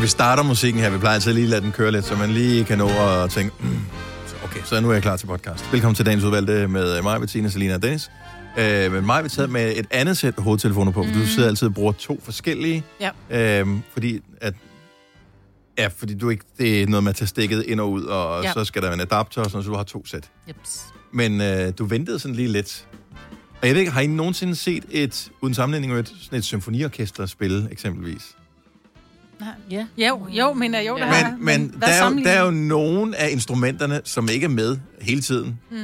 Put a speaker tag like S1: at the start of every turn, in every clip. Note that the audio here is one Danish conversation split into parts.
S1: vi starter musikken her, vi plejer altid lige at lade den køre lidt, så man lige kan nå at tænke, mm, okay, så nu er jeg klar til podcast. Velkommen til dagens udvalgte med mig, Bettina, Selina og Dennis. Øh, men mig vil taget med et andet sæt hovedtelefoner på, for
S2: Mm.
S1: du sidder altid og bruger to forskellige,
S2: Ja.
S1: øh, fordi at Ja, fordi du ikke, det er noget med at tage stikket ind og ud, og
S2: Ja.
S1: så skal der være en adapter og sådan noget, så du har to sæt.
S2: Jeps.
S1: Men øh, du ventede sådan lige lidt. Og jeg ved ikke, har I nogensinde set et, uden sammenligning med et, sådan et symfoniorkester spille, eksempelvis?
S3: Ja.
S2: Jo, jo, men øh, jo, der har jeg.
S1: Men, men
S2: hvad
S1: der, er jo, der
S2: sammenligner
S1: er jo nogen af instrumenterne, som ikke er med hele tiden. Mm.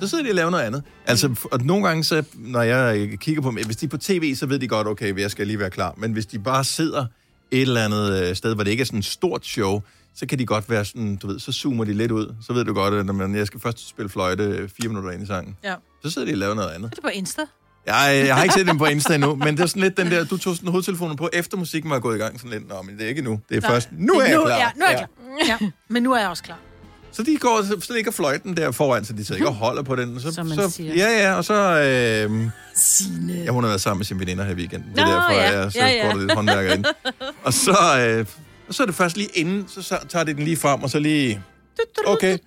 S1: Så sidder de og laver noget andet. Altså,
S2: Mm.
S1: f- og nogle gange, så, når jeg øh, kigger på dem, hvis de er på tv, så ved de godt, okay, jeg skal lige være klar. Men hvis de bare sidder et eller andet øh, sted, hvor det ikke er sådan et stort show, så kan de godt være sådan, du ved, så zoomer de lidt ud. Så ved du godt, at når man, jeg skal først spille fløjte øh, fire minutter ind i sangen.
S2: Ja.
S1: Så sidder de og laver noget andet.
S2: Er det på Insta?
S1: Jeg, jeg har ikke set dem på Insta endnu, men det er sådan lidt den der, du tog sådan hovedtelefonen på, efter musikken var gået i gang, sådan lidt, nå, men det er ikke nu, det er
S2: Nej.
S1: først, nu er jeg
S2: nu,
S1: klar.
S2: Ja, nu er jeg klar. Ja. Men nu er jeg også klar.
S1: Så de går og slet ikke og fløjten der foran, så de sidder ikke og holder på den. Så,
S3: Hm. Som man
S1: så,
S3: siger.
S1: Ja, ja, og så... Øh,
S3: Sine.
S1: ja, hun har været sammen med sine veninder her i weekenden. Det er
S3: Nå,
S1: derfor,
S3: ja.
S1: jeg så
S3: Ja, ja.
S1: går der lidt håndværker ind. Og så, øh, og så er det først lige inden, så, så tager de den lige frem, og så lige... Okay.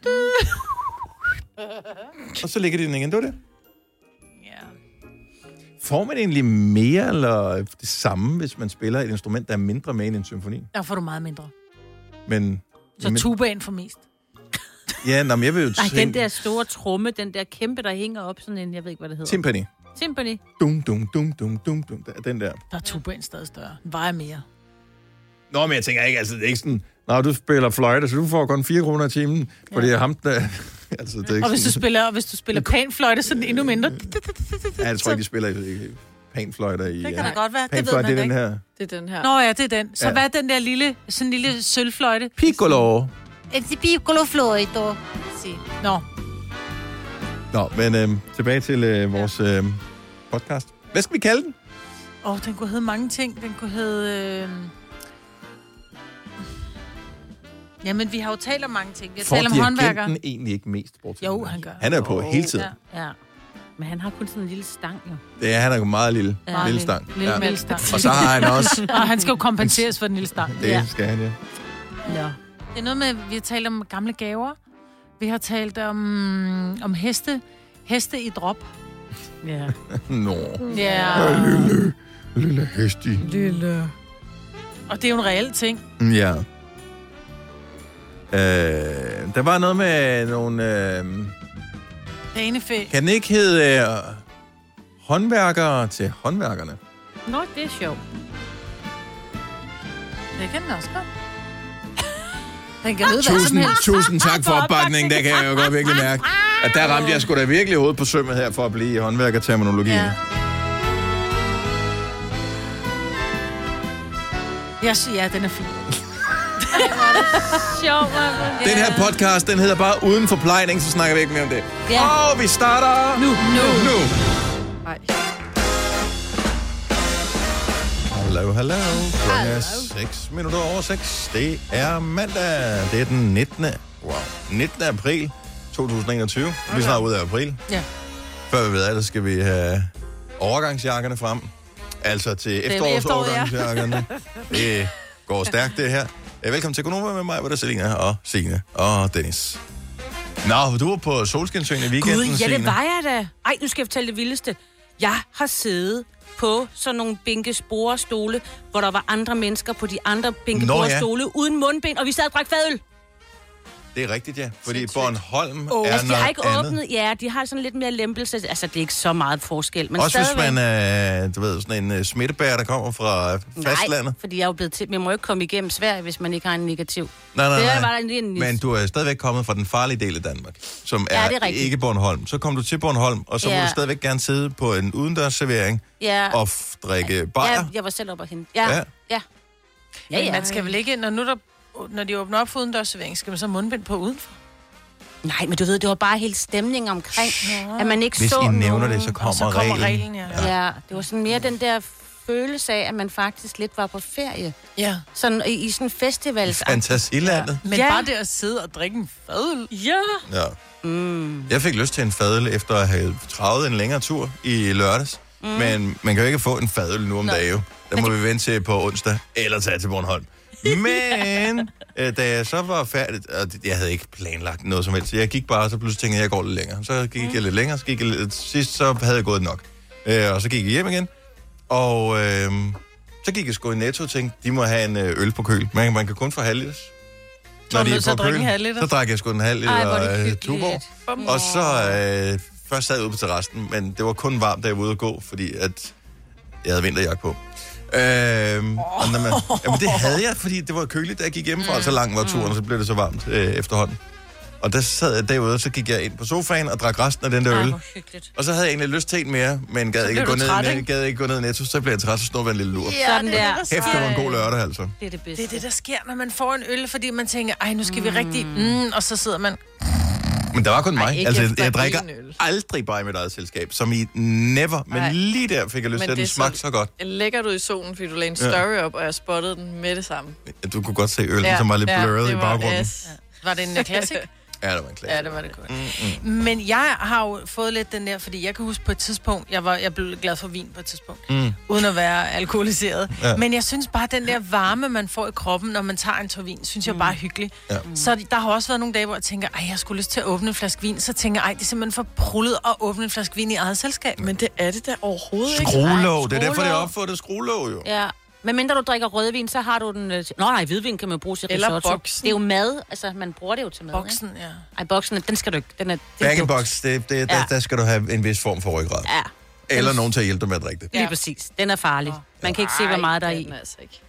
S1: Og så ligger de den igen. Det var det.
S2: Ja.
S1: Får man egentlig mere eller det samme, hvis man spiller et instrument, der er mindre med end en symfoni?
S2: Der får du meget mindre.
S1: Men...
S2: Så
S1: men,
S2: tubaen for mest.
S1: Ja, nå, men jeg vil jo
S3: Nej,
S1: tænke...
S3: den der store tromme, den der kæmpe, der hænger op sådan en, jeg ved ikke, hvad det hedder.
S1: Timpani.
S3: Timpani.
S1: Dum, dum, dum, dum, dum, dum. Der- Den der.
S2: Der er tubaen stadig større. Den vejer mere.
S1: Nå, men jeg tænker ikke, altså det er ikke sådan, Nå, du spiller fløjte, så du får kun 4 kroner i timen, fordi ja. ham, der... altså, det er ikke
S2: Og hvis du
S1: sådan,
S2: spiller, og hvis du spiller panfløjte, så er den endnu mindre.
S1: ja, jeg tror ikke, de spiller øh, panfløjter i...
S2: Det kan da godt være. Det ved
S1: Panfløjte,
S2: man da
S1: det er den
S2: ikke.
S1: her...
S4: Det er den her.
S2: Nå ja, det er den. Så
S1: Ja.
S2: ja. hvad er den der lille, sådan en lille sølvfløjte?
S1: Piccolo.
S2: Et piccolo fløjte. Nå,
S1: Nå, men øh, tilbage til øh, vores øh, podcast. Hvad skal vi kalde den?
S2: Åh, oh, den kunne hedde mange ting. Den kunne hedde... Øh... Jamen, vi har jo talt om mange ting. Vi har talt om håndværker.
S1: den egentlig ikke mest bort til
S2: Jo,
S1: den her?
S2: han gør.
S1: Han er på hele tiden.
S2: Ja.
S3: Ja. Men han har kun sådan en lille stang, jo.
S1: Det er, han er jo meget lille.
S3: Ja.
S1: Ja.
S3: Meget
S1: Lille stang.
S3: Lille
S1: ja.
S3: ja.
S2: mælkestang.
S1: Og så har han også...
S2: Og han skal jo kompenseres for den lille start.
S1: Det ja. skal han, ja.
S3: Nå.
S2: Det er noget med, vi har talt om gamle gaver. Vi har talt om, om heste. Heste i drop.
S3: Ja.
S1: Nå.
S2: Ja.
S1: Lille, lille hestig.
S2: Lille. Og det er jo en reel ting.
S1: Ja. Øh, der var noget med nogle... Øh,
S2: Danefæ.
S1: kan den ikke hedde øh, håndværkere til håndværkerne?
S3: Nå, det er sjovt.
S2: Det kan den også godt. Den kan lyde hvad som
S1: Tusind,
S2: helst.
S1: tusind tak for opbakningen. Det kan jeg jo godt virkelig mærke. At der ramte jeg sgu da virkelig hovedet på sømmet her for at blive i håndværkerterminologien.
S2: Ja.
S1: Ja.
S2: Jeg sy- ja, den er fin.
S3: Sjovt, ja.
S1: Den her podcast, den hedder bare Uden for plejning, så snakker vi ikke mere om det.
S3: Ja.
S1: Og vi starter nu.
S3: Nu.
S1: nu.
S4: Nej.
S1: Hallo, hallo. Klokken er 6 minutter over 6. Det er mandag. Det er den 19. Wow. 19. april 2021. Vi er snart ude af april.
S2: Ja.
S1: Før vi ved af det, skal vi have overgangsjakkerne frem. Altså til efterårsovergangsjakkerne. det går stærkt, det her. Eh, Velkommen til Konoba med mig, hvor der er Selina og Signe og Dennis. Nå, du var på solskinsøen i weekenden,
S3: Gud, ja,
S1: Signe.
S3: det var jeg da. Ej, nu skal jeg fortælle det vildeste. Jeg har siddet på sådan nogle bænkesporestole, hvor der var andre mennesker på de andre bænkesporestole ja. uden mundbind, og vi sad og drak fadøl.
S1: Det er rigtigt, ja. Fordi Bornholm oh.
S3: Oh.
S1: er
S3: Altså, de
S1: noget
S3: har ikke
S1: andet.
S3: åbnet. Ja, de har sådan lidt mere lempelse. Altså, det er ikke så meget forskel. Men
S1: Også
S3: stadigvæk.
S1: hvis man er, du ved, sådan en øh, smittebærer, der kommer fra øh, fastlandet.
S3: Nej, fordi jeg er jo blevet til. Man må jo ikke komme igennem Sverige, hvis man ikke har en negativ.
S1: Nej, nej,
S3: det
S1: nej.
S3: er bare lige en
S1: Men du er stadigvæk kommet fra den farlige del af Danmark, som
S3: Ja,
S1: er,
S3: det er rigtigt.
S1: ikke Bornholm. Så kom du til Bornholm, og så ja. må
S3: Ja.
S1: du stadigvæk gerne sidde på en udendørsservering
S3: Ja.
S1: og f- drikke bajer.
S3: ja, jeg var selv oppe og hente. Ja,
S1: Ja.
S3: ja. Ja, ja.
S2: Man skal vel ikke, når, nu der, når de åbner op for udendørsservering, skal man så have mundbind på udenfor?
S3: Nej, men du ved, det var bare helt stemning omkring, at man ikke
S1: Hvis
S3: så
S1: I nævner
S3: nogen.
S1: det, så kommer,
S2: så kommer
S1: reglen.
S2: reglen, ja.
S3: Ja, det var sådan mere den der følelse af, at man faktisk lidt var på ferie.
S2: Ja.
S3: Sådan i, i sådan festivals...
S1: Fantasilandet.
S2: Men ja.
S3: Ja.
S2: bare det at sidde og drikke en fadøl.
S3: Ja.
S1: Ja. Mm. Jeg fik lyst til en fadøl efter at have travet en længere tur i lørdags. Mm. Men man kan jo ikke få en fadøl nu om dagen. jo. Den må vi vente til på onsdag, eller tage til Bornholm. Men øh, da jeg så var færdig, og det- jeg havde ikke planlagt noget som helst, jeg gik bare, og så pludselig tænkte jeg, jeg går lidt længere. Så gik
S2: Mm.
S1: jeg lidt længere, så gik jeg lidt, sidst så havde jeg gået nok. Øh, og så gik jeg hjem igen, og øh, så gik jeg sgu i Netto og tænkte, de må have en øh, øl på køl. Man, man kan kun få halv liters.
S2: var nødt til at drikke en halv liter.
S1: så drak jeg sgu en halv liter
S2: Ej, hvor er det
S1: øh,
S2: hyggeligt.
S1: Tuborg. Og så øh, først sad jeg ude på terrassen, men det var kun varmt, da jeg var ude at gå, fordi at jeg havde vinterjakke på. Øhm, oh. og når man, jamen det havde jeg, fordi det var køligt, da jeg gik hjemmefra, mm. så lang var turen, og så blev det så varmt øh, efterhånden. Og der sad jeg derude, og så gik jeg ind på sofaen og drak resten af den der
S3: Ej,
S1: øl.
S3: hvor hyggeligt.
S1: Og så havde jeg egentlig lyst til en mere, men gad, ikke
S2: blev
S1: gå,
S2: du
S1: ned,
S2: træt,
S1: i net-
S2: ikke?
S1: gad ikke gå ned i netto, så blev jeg træt, så snuppede jeg en lille lur. Yeah.
S3: Sådan der.
S1: Hæft, det var en god lørdag, altså.
S3: Det er det bedste.
S2: Det er det, der sker, når man får en øl, fordi man tænker, ej, nu skal vi rigtig... Mm, og så sidder man...
S1: Men der var kun mig.
S4: ikke
S1: altså, jeg,
S4: efter
S1: jeg drikker
S4: en øl.
S1: aldrig bare i mit eget selskab, som i never. Men
S4: Nej.
S1: lige der fik jeg lyst
S4: Men
S1: til,
S4: det
S1: at den
S4: er
S1: smagte så godt.
S4: Lægger du i solen, fordi du lagde en
S1: Ja.
S4: story op, og jeg spottede den med det samme.
S1: at du kunne godt se øl, ja, som var ligesom lidt ja, blurret
S4: det
S1: i
S4: var-
S1: baggrunden.
S4: Yes.
S2: Var det en øh, classic?
S1: Ja, det var en klasse.
S4: Ja, det var det godt.
S2: Mm. Men jeg har jo fået lidt den der, fordi jeg kan huske på et tidspunkt, jeg, var, jeg blev glad for vin på et tidspunkt, mm. uden at være alkoholiseret.
S1: Ja.
S2: Ja. Men jeg synes bare, den der varme, man får i kroppen, når man tager en tår vin, synes jeg
S3: Mm.
S2: bare er hyggelig.
S1: Ja.
S2: Ja. Så der har også været nogle dage, hvor jeg tænker, ej, jeg skulle lyst til at åbne en flaske vin. Så tænker jeg, ej, det er simpelthen for prullet at åbne en flaske vin i eget selskab.
S4: Men det er det der overhovedet ikke.
S1: Skruelåg, det er
S3: Skruelåg.
S1: derfor, det er opfundet skruelåg jo.
S3: Ja. Men mindre du drikker rødvin, så har du den... øh, til- Nå nej, hvidvin kan man jo bruge til
S4: Eller
S3: risotto.
S4: boksen.
S3: Det er jo mad, altså man bruger det jo til mad, ikke?
S2: Boksen, ja.
S3: Ej, boksen, den skal du ikke. Den er, det er
S1: Back in
S3: dumt.
S1: box, det, det, der,
S3: Ja.
S1: der skal du have en vis form for ryggrad.
S3: Ja,
S1: Eller nogen til at hjælpe dig med at drikke det.
S3: lige præcis. Den er farlig. Man kan ikke se, hvor meget der er i. Oh.
S4: Den er altså ikke.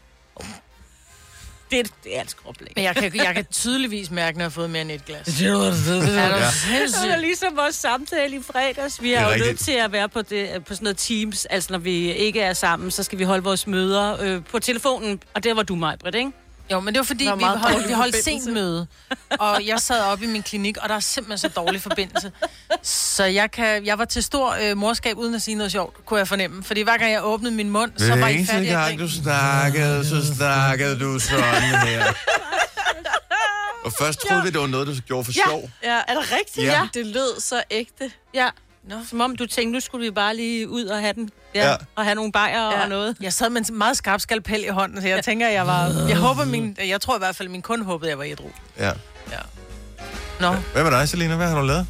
S3: Det er, det er et skråblæk.
S2: Men jeg kan, jeg kan tydeligvis mærke, når jeg har fået mere end et glas. Det er
S1: Ja.
S2: da
S3: Det
S2: sindssygt.
S3: er ligesom vores samtale i fredags. Vi
S1: Det er
S3: er, jo
S1: rigtigt.
S3: nødt til at være på, det, øh, på sådan noget Teams. Altså, når vi ikke er sammen, så skal vi holde vores møder øh, på telefonen. Og der var du mig, Britt, ikke?
S2: Jo, men det var fordi,
S4: Der var
S2: vi
S4: meget
S2: holdt,
S4: dårlig
S2: vi holdt
S4: forbindelse.
S2: sent møde, og jeg sad oppe i min klinik, og der er simpelthen så dårlig forbindelse. Så jeg, kan, jeg var til stor øh, morskab uden at sige noget sjovt, kunne jeg fornemme. Fordi hver gang jeg åbnede min mund, så var
S1: Hver
S2: I
S1: eneste
S2: færdige. at
S1: gang
S2: grine.
S1: du snakkede, så snakkede du sådan her. Og først troede vi, det var noget, du gjorde for sjov.
S4: Ja, er det rigtigt?
S1: Ja.
S4: Ja. Det lød så ægte.
S3: Ja.
S2: Nå.
S3: Som om du tænkte, nu skulle vi bare lige ud og have den. Ja.
S1: Ja.
S3: Og have nogle bajer
S4: Ja.
S3: og noget.
S2: Jeg sad med en meget skarp skalpel i hånden, så jeg tænker, jeg var... Jeg håber min... Jeg tror i hvert fald, min kunde håbede, jeg var ædru.
S1: Ja.
S2: Nå,
S1: Hvad med dig, Selina? Hvad har du lavet?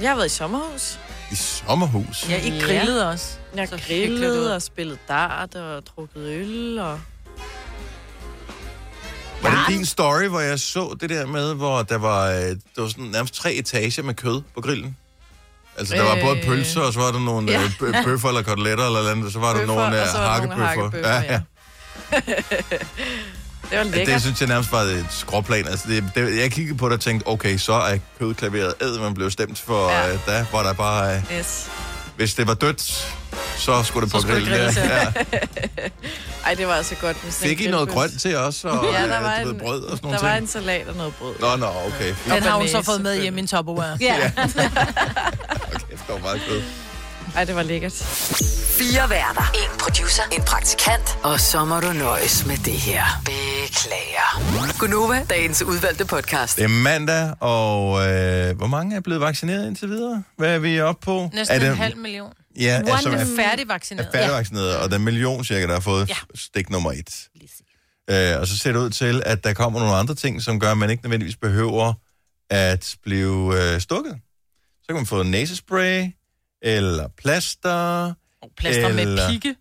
S4: Jeg har været i sommerhus.
S1: I sommerhus.
S2: jeg ikke grillede også.
S4: Jeg
S2: Så hyggeligt ud.
S4: grillede og spillede dart og drukket øl. Og...
S1: Var det din story, hvor jeg så det der med, hvor der var, øh, der var sådan nærmest tre etager med kød på grillen? Altså, der var
S4: Øh.
S1: både pølser, og så var der nogle
S4: Ja.
S1: ja. bøffer eller koteletter eller andet, og så var der
S4: Bøffer,
S1: nogle øh,
S4: og så var der nogle
S1: hakkebøffer.
S4: hakkebøffer, ja. Det var
S1: Ja,
S4: lækkert.
S1: det synes jeg nærmest var et skråplan. Altså, det, det, jeg kiggede på det og tænkte, okay, så er kødklaveret æd, man blev stemt for. Ja.
S4: Ja.
S1: Øh, der var der bare, øh,
S4: Yes.
S1: hvis det var dødt, så skulle det
S2: Så skulle
S1: på
S2: det
S1: grillen.
S2: grilles,
S1: ja. Ja.
S4: Ej, det var altså godt med sådan
S1: Fik I
S4: en
S1: noget
S4: grillpølse.
S1: grønt til os, og
S4: Ja, der var,
S1: øh, du ved,
S4: en,
S1: brød og
S4: der
S1: sådan nogle
S4: var
S1: ting?
S4: en salat og noget brød.
S1: Nå, nå, okay. Fint.
S2: Den har hun
S4: banæs,
S2: så fået med
S4: selvfølgelig.
S2: hjemme i en Tupperware.
S3: Ja.
S1: Okay, det var meget kød.
S4: Ej, det var lækkert.
S5: Fire værter. En producer. En praktikant. Og så må du nøjes med det her. Beklager. Gunova, dagens udvalgte podcast.
S1: Det er mandag, og øh, hvor mange er blevet vaccineret indtil videre? Hvad er vi oppe på?
S2: Næsten
S1: er det,
S2: en halv million.
S1: Ja,
S2: One
S1: altså,
S2: er
S1: er,
S2: færdigvaccineret.
S1: er færdigvaccineret, og der er en million cirka, der har fået
S3: Ja.
S1: stik nummer et. Øh, og så ser det ud til, at der kommer nogle andre ting, som gør, at man ikke nødvendigvis behøver at blive øh, stukket. Så kan man få næsespray, eller plaster.
S2: Og Plaster
S1: Eller-
S2: med pigge.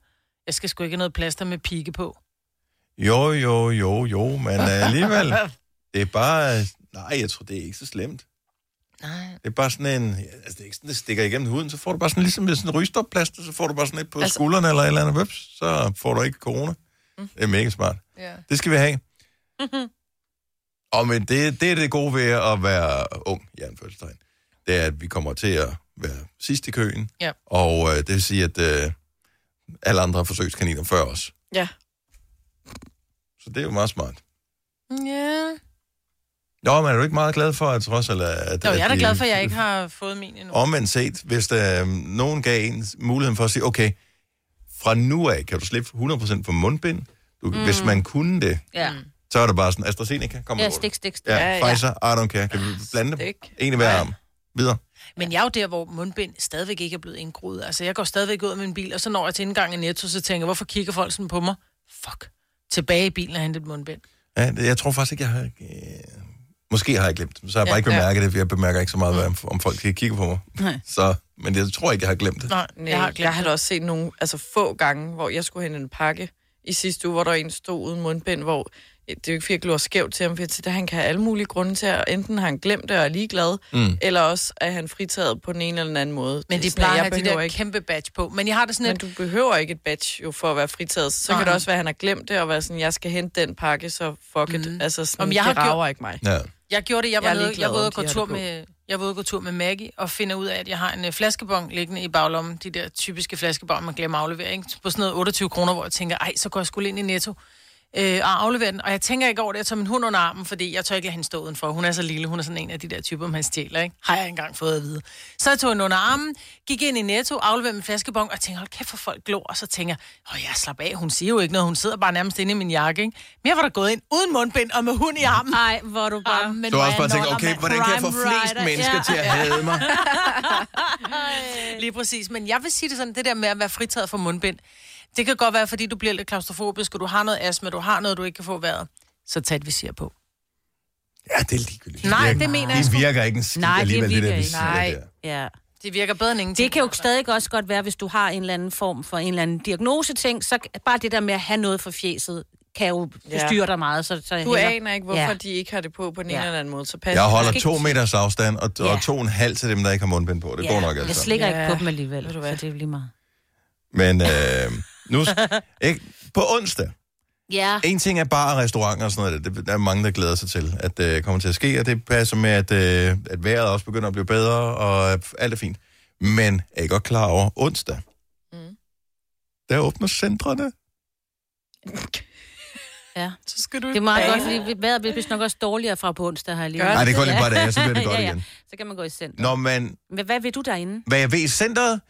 S2: Jeg skal sgu ikke have noget plaster med pigge på.
S1: Jo, jo, jo, jo, men øh, alligevel. Det er bare... øh, Nej, jeg tror, det er ikke så slemt.
S2: Nej.
S1: Det er bare sådan en... ja, Altså, det er ikke sådan, det stikker igennem huden. Så får du bare sådan ligesom med sådan en rygstopplaster, så får du bare sådan et på altså...
S4: Altså-
S1: skulderen eller et eller andet. Ups, så får du ikke corona. Mm. Det er mega smart.
S4: Ja.
S1: Det skal vi have. Og men det, det er det gode ved at være ung, i anførselstegn. Det er, at vi kommer til at være sidst i køen.
S2: Ja.
S1: Og øh, det vil sige, at øh, alle andre har forsøgskaniner før os.
S4: Ja.
S1: Så det er jo meget smart.
S2: Ja.
S1: Nå, men er du ikke meget glad for, at trods alt... At,
S2: Nå,
S1: at
S2: jeg er da
S1: de-
S2: glad for, at jeg ikke har fået min endnu.
S1: Omvendt set, hvis der øh, nogen gav en muligheden for at sige, okay, fra nu af kan du slippe 100% for mundbind. Du, mm. Hvis man kunne det,
S3: Ja,
S1: så er det bare sådan, AstraZeneca, kom
S3: ja
S1: over.
S3: stik, stik, stik.
S1: Ja,
S4: Ja, ja.
S1: ja, Pfizer, I don't care. Kan vi blande dem?
S4: Stik.
S1: En i hver arm. Videre.
S2: Men jeg er jo der, hvor mundbind stadigvæk ikke er blevet indgroet. Altså, jeg går stadigvæk ud af min bil, og så når jeg til indgangen i Netto, så tænker jeg, hvorfor kigger folk sådan på mig? Fuck. Tilbage i bilen og hente et mundbind.
S1: Ja, det- jeg tror faktisk ikke, jeg har... Øh, måske har jeg glemt. dem, Så har jeg bare
S6: Ja,
S1: ikke
S6: ja.
S1: bemærket det, for jeg bemærker ikke så meget, hvad, om folk kigger på mig.
S6: Nej.
S1: Så, men jeg tror ikke, jeg har glemt det.
S2: Nej,
S4: Nej, jeg har, jeg har da også set nogle altså få gange, hvor jeg skulle hente en pakke i sidste uge, hvor der var en der stod uden mundbind, hvor det er jo ikke, fordi jeg glor skævt til ham, for jeg tænkte, at han kan have alle mulige grunde til, at enten har han glemt det og er ligeglad,
S1: Mm.
S4: mm. eller også er han fritaget på den ene eller den anden måde.
S2: Men
S4: Det er
S2: de
S4: sådan, at
S2: plejer at
S4: jeg
S2: have de
S4: behøver
S2: der ikke. kæmpe badge på. Men jeg har det sådan
S4: Men
S2: et...
S4: du behøver ikke et badge jo for at være fritaget. Så
S2: Nej.
S4: kan det også være, at han har glemt det og være sådan, jeg skal hente den pakke, så fuck it. Mm. Altså sådan,
S2: Om
S4: Om
S2: jeg
S4: jeg
S2: har
S4: det rager
S2: gjort-
S4: ikke mig.
S1: Ja.
S2: Jeg gjorde det, jeg
S4: Jeg
S2: var,
S4: er
S2: nede,
S4: ligeglad,
S2: jeg var ude
S4: om
S2: at gå
S4: de har
S2: tur
S4: det på.
S2: med, jeg var ude at gå tur med Maggie og finder ud af, at jeg har en øh, flaskebon liggende i baglommen. De der typiske flaskebon, man glemmer at aflevere, ikke? På sådan noget 28 kroner, hvor jeg tænker, ej, så går jeg skulle ind i Netto øh, og afleverer den. Og jeg tænker ikke over det, jeg tager min hund under armen, fordi jeg tør ikke lade hende stå udenfor. Hun er så lille, hun er sådan en af de der typer, man stjæler, ikke? Har jeg engang fået at vide. Så jeg tog hende under armen, gik ind i Netto, afleverede min flaskebon og tænkte, hold kæft for folk glor. Og så tænker jeg, åh, jeg slap af, hun siger jo ikke noget, hun sidder bare nærmest inde i min jakke, ikke? Men jeg var da gået ind uden mundbind og med hund i armen.
S3: Nej, hvor er du bare...
S2: Ah, men
S1: Du har
S2: hvor
S1: også
S2: er
S1: bare tænkt,
S2: Nolder
S1: okay,
S2: mand.
S1: hvordan kan jeg få
S3: Prime
S1: flest
S3: rider,
S1: mennesker
S3: ja.
S1: til at hade mig?
S2: Lige præcis, men jeg vil sige det sådan, det der med at være fritaget for mundbind, det kan godt være, fordi du bliver lidt klaustrofobisk, og du har noget astma, du har noget, du ikke kan få vejret, så tag et visir på.
S1: Ja, det er ligegyldigt.
S2: Nej,
S1: virker-
S2: det mener jeg
S1: Det
S2: sgu.
S1: virker ikke en skid
S3: Nej, det
S1: alligevel, det, der,
S3: virker
S1: vi
S3: ikke.
S1: siger
S4: Nej.
S1: der.
S3: Ja.
S2: Det virker bedre end ingenting.
S3: Det kan jo stadig også godt være, hvis du har en eller anden form for en eller anden diagnoseting, så bare det der med at have noget for fjeset, kan jo bestyre dig meget. Så, så jeg
S4: Du
S3: hælder-
S4: aner ikke, hvorfor
S3: Ja.
S4: ja. de ikke har det på på den ene
S3: Ja.
S4: eller anden måde. Så pas
S1: Jeg holder
S3: skal
S1: to
S3: ikke-
S1: meters afstand, og, og
S3: Ja.
S1: to og en halv til dem, der ikke har mundbind på. Det går nok
S3: Jeg
S1: altså.
S3: slikker
S4: Ja.
S3: ikke på dem alligevel,
S4: Ved du
S3: så
S4: hvad?
S3: det er jo lige meget.
S1: Men øh, nu... Ikke? På onsdag,
S3: Ja.
S1: En ting er bare restauranter og sådan noget. der. Det, der er mange, der glæder sig til, at det øh, kommer til at ske, og det passer med, at, øh, at vejret også begynder at blive bedre, og øh, alt er fint. Men er I godt klar over onsdag? Mm.
S4: Mm.
S1: Der åbner centrene.
S4: så skal du
S3: Det er meget godt, fordi vejret bliver vist nok også dårligere fra på onsdag her lige.
S4: Gør
S1: Nej, det går lige
S3: Ja.
S1: bare dage, så bliver det godt
S3: Ja, ja.
S1: igen.
S3: Så kan man gå i center.
S1: Nå, men
S3: Men hvad vil du derinde?
S1: hvad jeg ved i centret,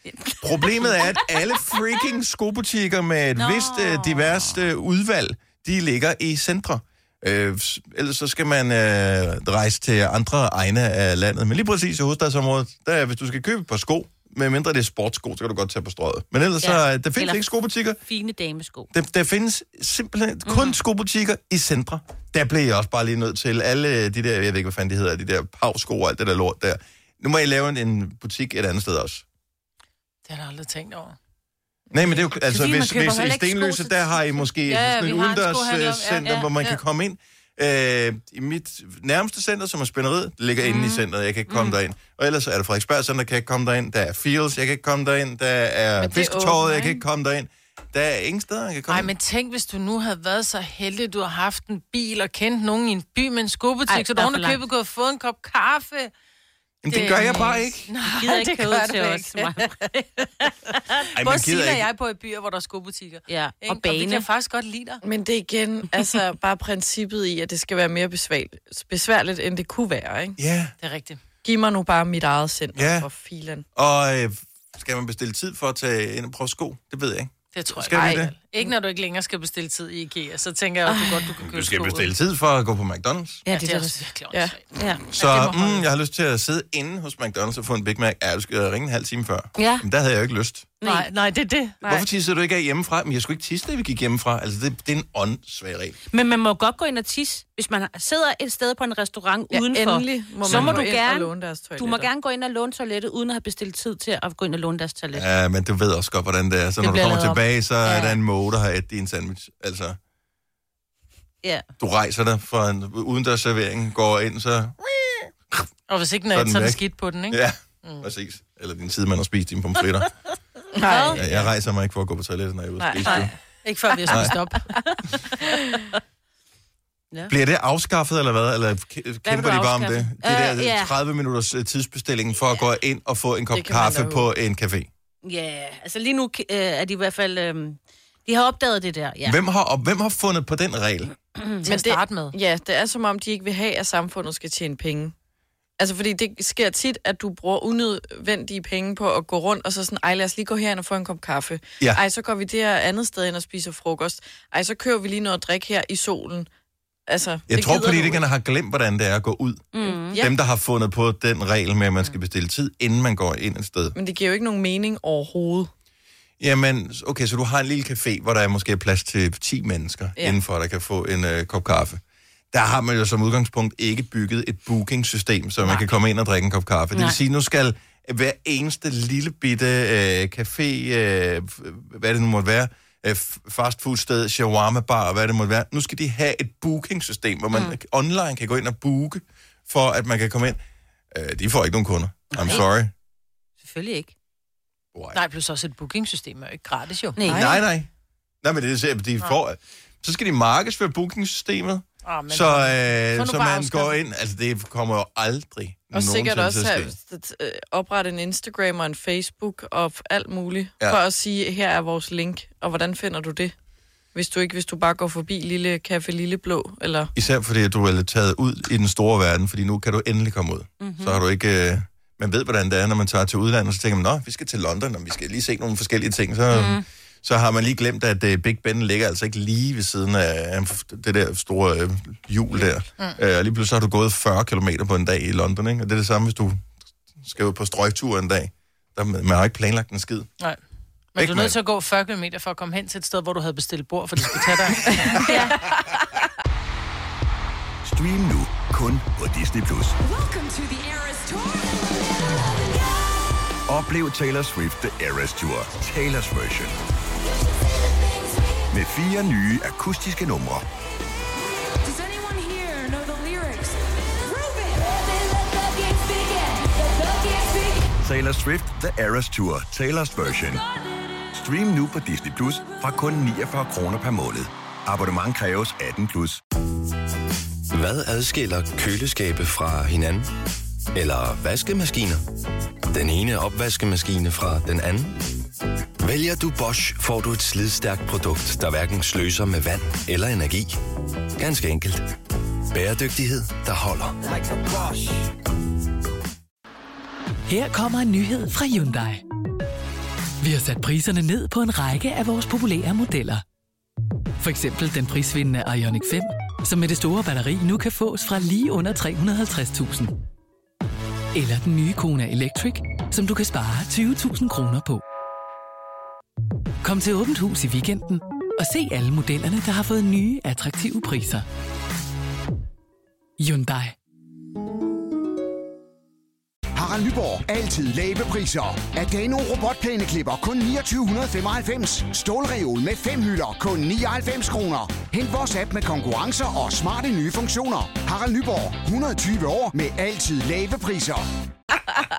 S1: problemet er, at alle freaking skobutikker med et Nå.
S3: Nå.
S1: vist øh, diverst øh, udvalg, de ligger i centre. Øh, s- ellers så skal man øh, rejse til andre egne af landet. Men lige præcis i hovedstadsområdet, der, er- hvis du skal købe et par sko, medmindre det er sportssko, så kan du godt tage på strøget. Men ellers ja.
S3: Ja.
S1: så, øh, der findes
S3: Eller-
S1: ikke skobutikker.
S3: Fine damesko.
S1: Der, der findes simpelthen
S3: Mhm.
S1: kun mm. skobutikker i centre. Der blev jeg også bare lige nødt til alle øh, de der, jeg ved ikke, hvad fanden de hedder, de der pavsko og alt det der lort der. Nu må jeg lave en, en butik et andet sted også.
S2: Det har jeg aldrig tænkt over.
S1: Nej, men det er jo, altså,
S3: man
S1: hvis,
S3: køber
S1: hvis i
S3: heller ikke sko
S1: Stenløse,
S3: til-
S1: der har I måske
S2: Ja, ja,
S1: sådan et
S2: vi har en
S1: udendørs
S2: skohandler,
S1: øh,
S2: ja,
S1: center,
S2: ja,
S1: hvor man
S2: ja.
S1: kan komme ind. Øh, I mit nærmeste center, som er Spænderiet, det ligger mm.
S2: Mhm.
S1: inde i centret, jeg kan ikke komme mm. derind. Og ellers er der Frederiksberg Center, kan jeg ikke komme derind. Der er Fields, jeg kan ikke komme derind. Der er
S4: Men det er
S1: Fisketåret,
S4: åbent,
S1: jeg kan
S4: ikke?
S1: ikke komme derind. Der er ingen steder, jeg kan komme
S2: Nej,
S1: ind.
S2: men tænk, hvis du nu havde været så heldig, at du har haft en bil og kendt nogen i en by med en skobutik,
S3: Ej,
S2: så du
S3: der er
S2: oven
S3: for
S2: købet kunne have fået en kop kaffe.
S1: Jamen, det gør jeg bare ikke.
S2: Nej,
S3: Gider ikke
S2: det
S3: købe
S2: gør
S3: ud
S2: du
S3: til
S2: ikke.
S3: os. Maja.
S1: Ej,
S2: Både
S1: man
S2: Sina
S1: gider
S2: og
S1: ikke.
S2: jeg bor i byer, hvor der er skobutikker.
S3: Ja,
S2: Ikke?
S3: og
S2: Og vi
S3: bane.
S2: kan faktisk godt lide dig.
S4: Men det er igen, altså bare princippet i, at det skal være mere besværligt, besværligt end det kunne være, ikke?
S1: Ja,
S2: Det er rigtigt.
S4: Giv mig nu bare mit eget center
S1: Ja.
S4: ja. for filen.
S1: og øh, skal man bestille tid for at tage ind og prøve sko? Det ved jeg ikke.
S2: Det tror jeg
S1: Skal vi
S2: ikke.
S1: det?
S2: Ikke når du ikke længere skal bestille tid i IKEA, så tænker jeg, at du godt, du kan købe
S1: Du skal
S2: sko ud.
S1: bestille tid for at gå på McDonald's.
S3: Ja,
S2: Ja, det er
S3: det.
S2: også virkelig
S4: Ja.
S2: åndssvagt.
S3: Ja.
S1: Så mm, jeg har lyst til at sidde inde hos McDonald's og få en Big Mac. Ja, du skal ringe en halv time før.
S3: Ja.
S1: Men der havde jeg jo ikke lyst.
S2: Nej, nej, det er det.
S1: Nej. Hvorfor tisser du ikke af hjemmefra? Men jeg skulle ikke tisse, da vi gik hjemmefra. Altså, det, det er en åndssvag regel.
S3: Men man må godt gå ind og tisse, hvis man sidder et sted på en restaurant
S4: Ja,
S3: udenfor.
S4: endelig må
S3: så
S4: man
S3: må
S4: gå
S3: du
S4: ind og
S3: gerne,
S4: låne deres
S3: du må
S4: toiletter.
S3: gerne gå ind og låne toilettet, uden at have bestilt tid til at gå ind og låne deres toilet. Ja.
S1: Ja, men du ved også godt, hvordan det er. Så
S3: Det
S1: når du
S3: bliver
S1: kommer
S3: lavet op.
S1: tilbage, så er
S3: Ja.
S1: der en måge, der har et din sandwich. Altså,
S3: ja.
S1: du rejser dig for en udendørs servering, går ind, så...
S2: Og hvis ikke den
S1: Så er
S2: er
S1: den
S2: et, så er den
S1: væk.
S2: skidt på den, ikke?
S1: Ja, mm. præcis. Eller din sidemand har spist dine pomfritter.
S4: Nej.
S1: Ja, jeg rejser mig ikke for at gå på toilettet, når jeg er ude at
S4: Nej,
S1: spise.
S4: nej.
S1: det.
S2: Ikke før vi har spist op.
S1: Bliver det afskaffet, eller hvad? Eller k- kæmper de bare om det?
S3: afskaffet?
S1: Det der
S3: Øh, ja.
S1: 30 minutters øh, tidsbestilling for at gå ind og få en kop
S4: Det kan man da
S1: kaffe
S4: håbe.
S1: på en café.
S3: Ja, altså lige nu øh, er de i hvert fald... Øh, de har opdaget det der, ja.
S1: Hvem har, og hvem har fundet på den regel?
S2: Til at starte med.
S4: Ja, det er som om, de ikke vil have, at samfundet skal tjene penge. Altså, fordi det sker tit, at du bruger unødvendige penge på at gå rundt, og så sådan, ej, lad os lige gå herhen og få en kop kaffe.
S1: Ja.
S4: Ej, så går vi der andet sted hen og spiser frokost. Ej, så kører vi lige noget drik her i solen. Altså,
S1: Jeg det tror,
S4: gider du
S1: politikerne har glemt, hvordan det er at gå ud.
S3: Mm.
S1: Ja.
S4: Ja.
S1: Dem, der har fundet på den regel med, at man skal bestille tid, inden man går ind et sted.
S4: ikke. Men det giver jo ikke nogen mening overhovedet.
S1: Jamen, okay, så du har en lille café, hvor der er måske plads til 10 mennesker ja.
S4: Ja.
S1: indenfor, der kan få en øh, kop kaffe. der har man jo som udgangspunkt ikke bygget et booking-system, så man kan komme ind og drikke en kop kaffe. Det
S3: Nej.
S1: vil sige, nu skal hver eneste lille bitte øh, café, øh, f- hvad det nu måtte være, øh, f- fastfoodsted, shawarma-bar, hvad det måtte være, nu skal de have et booking-system, hvor man mm. online kan gå ind og booke, for at man kan komme ind. Øh, de får ikke nogen kunder. I'm
S2: Nej.
S1: sorry.
S3: Selvfølgelig ikke.
S1: Why?
S2: Nej, plus også et bookingsystem er jo ikke gratis, jo.
S3: Nej.
S1: Nej, nej. Nej, men det er det, de får... Så skal de markedsføre bookingsystemet,
S2: Ah, men,
S1: så, øh,
S2: nu
S1: så
S2: bare
S1: man
S2: afskaffet.
S1: går ind. Altså, det kommer jo aldrig
S4: Og sikkert
S1: nogensinde
S4: også
S1: til at ske.
S4: have øh, oprette en Instagram og en Facebook og alt muligt,
S1: Ja.
S4: ja. for at sige, her er vores link, og hvordan finder du det? Hvis du ikke, hvis du bare går forbi Lille Café Lille Blå, eller...
S1: Især fordi, at du er taget ud i den store verden, fordi nu kan du endelig komme ud.
S2: Mhm.
S1: Mm-hmm. Så har du ikke... Øh, man ved, hvordan det er, når man tager til udlandet, så tænker man, nå, vi skal til London, og vi skal lige se nogle forskellige ting. Så,
S2: Mhm.
S1: mm. så har man lige glemt, at øh, Big Ben ligger altså ikke lige ved siden af øh, det der store øh, hjul der.
S2: Mhm.
S1: Mm. Øh, og lige pludselig så har du gået 40 km på en dag i London, ikke? Og det er det samme, hvis du skal ud på strøgtur en dag. Der, man har ikke planlagt en skid.
S2: Nej. Men
S1: Væk
S2: du er nødt
S1: med det.
S2: til at gå 40 km for at komme hen til et sted, hvor du havde bestilt bord, for det skulle tage dig.
S6: Stream nu kun på Disney+. Plus. Oplev Taylor Swift The Eras Tour, Taylor's version. Med fire nye akustiske numre. Taylor Swift The Eras Tour, Taylor's version. Stream nu på Disney Plus fra kun 49 kroner per måned. Abonnement kræves 18 plus.
S7: Hvad adskiller køleskabe fra hinanden? Eller vaskemaskiner? Den ene opvaskemaskine fra den anden? Vælger du Bosch, får du et slidstærkt produkt, der hverken sløser med vand eller energi. Ganske enkelt. Bæredygtighed, der holder.
S8: Her kommer en nyhed fra Hyundai. Vi har sat priserne ned på en række af vores populære modeller. For eksempel den prisvindende Ioniq 5, som med det store batteri nu kan fås fra lige under 350.000. Eller den nye Kona Electric, som du kan spare 20.000 kroner på. Kom til Åbent Hus i weekenden og se alle modellerne, der har fået nye, attraktive priser. Hyundai.
S9: Harald Nyborg. Altid lave priser. Adano robotplæneklipper kun 2995. Stålreol med fem hylder kun 99 kroner. Hent vores app med konkurrencer og smarte nye funktioner. Harald Nyborg. 120 år med altid lave priser.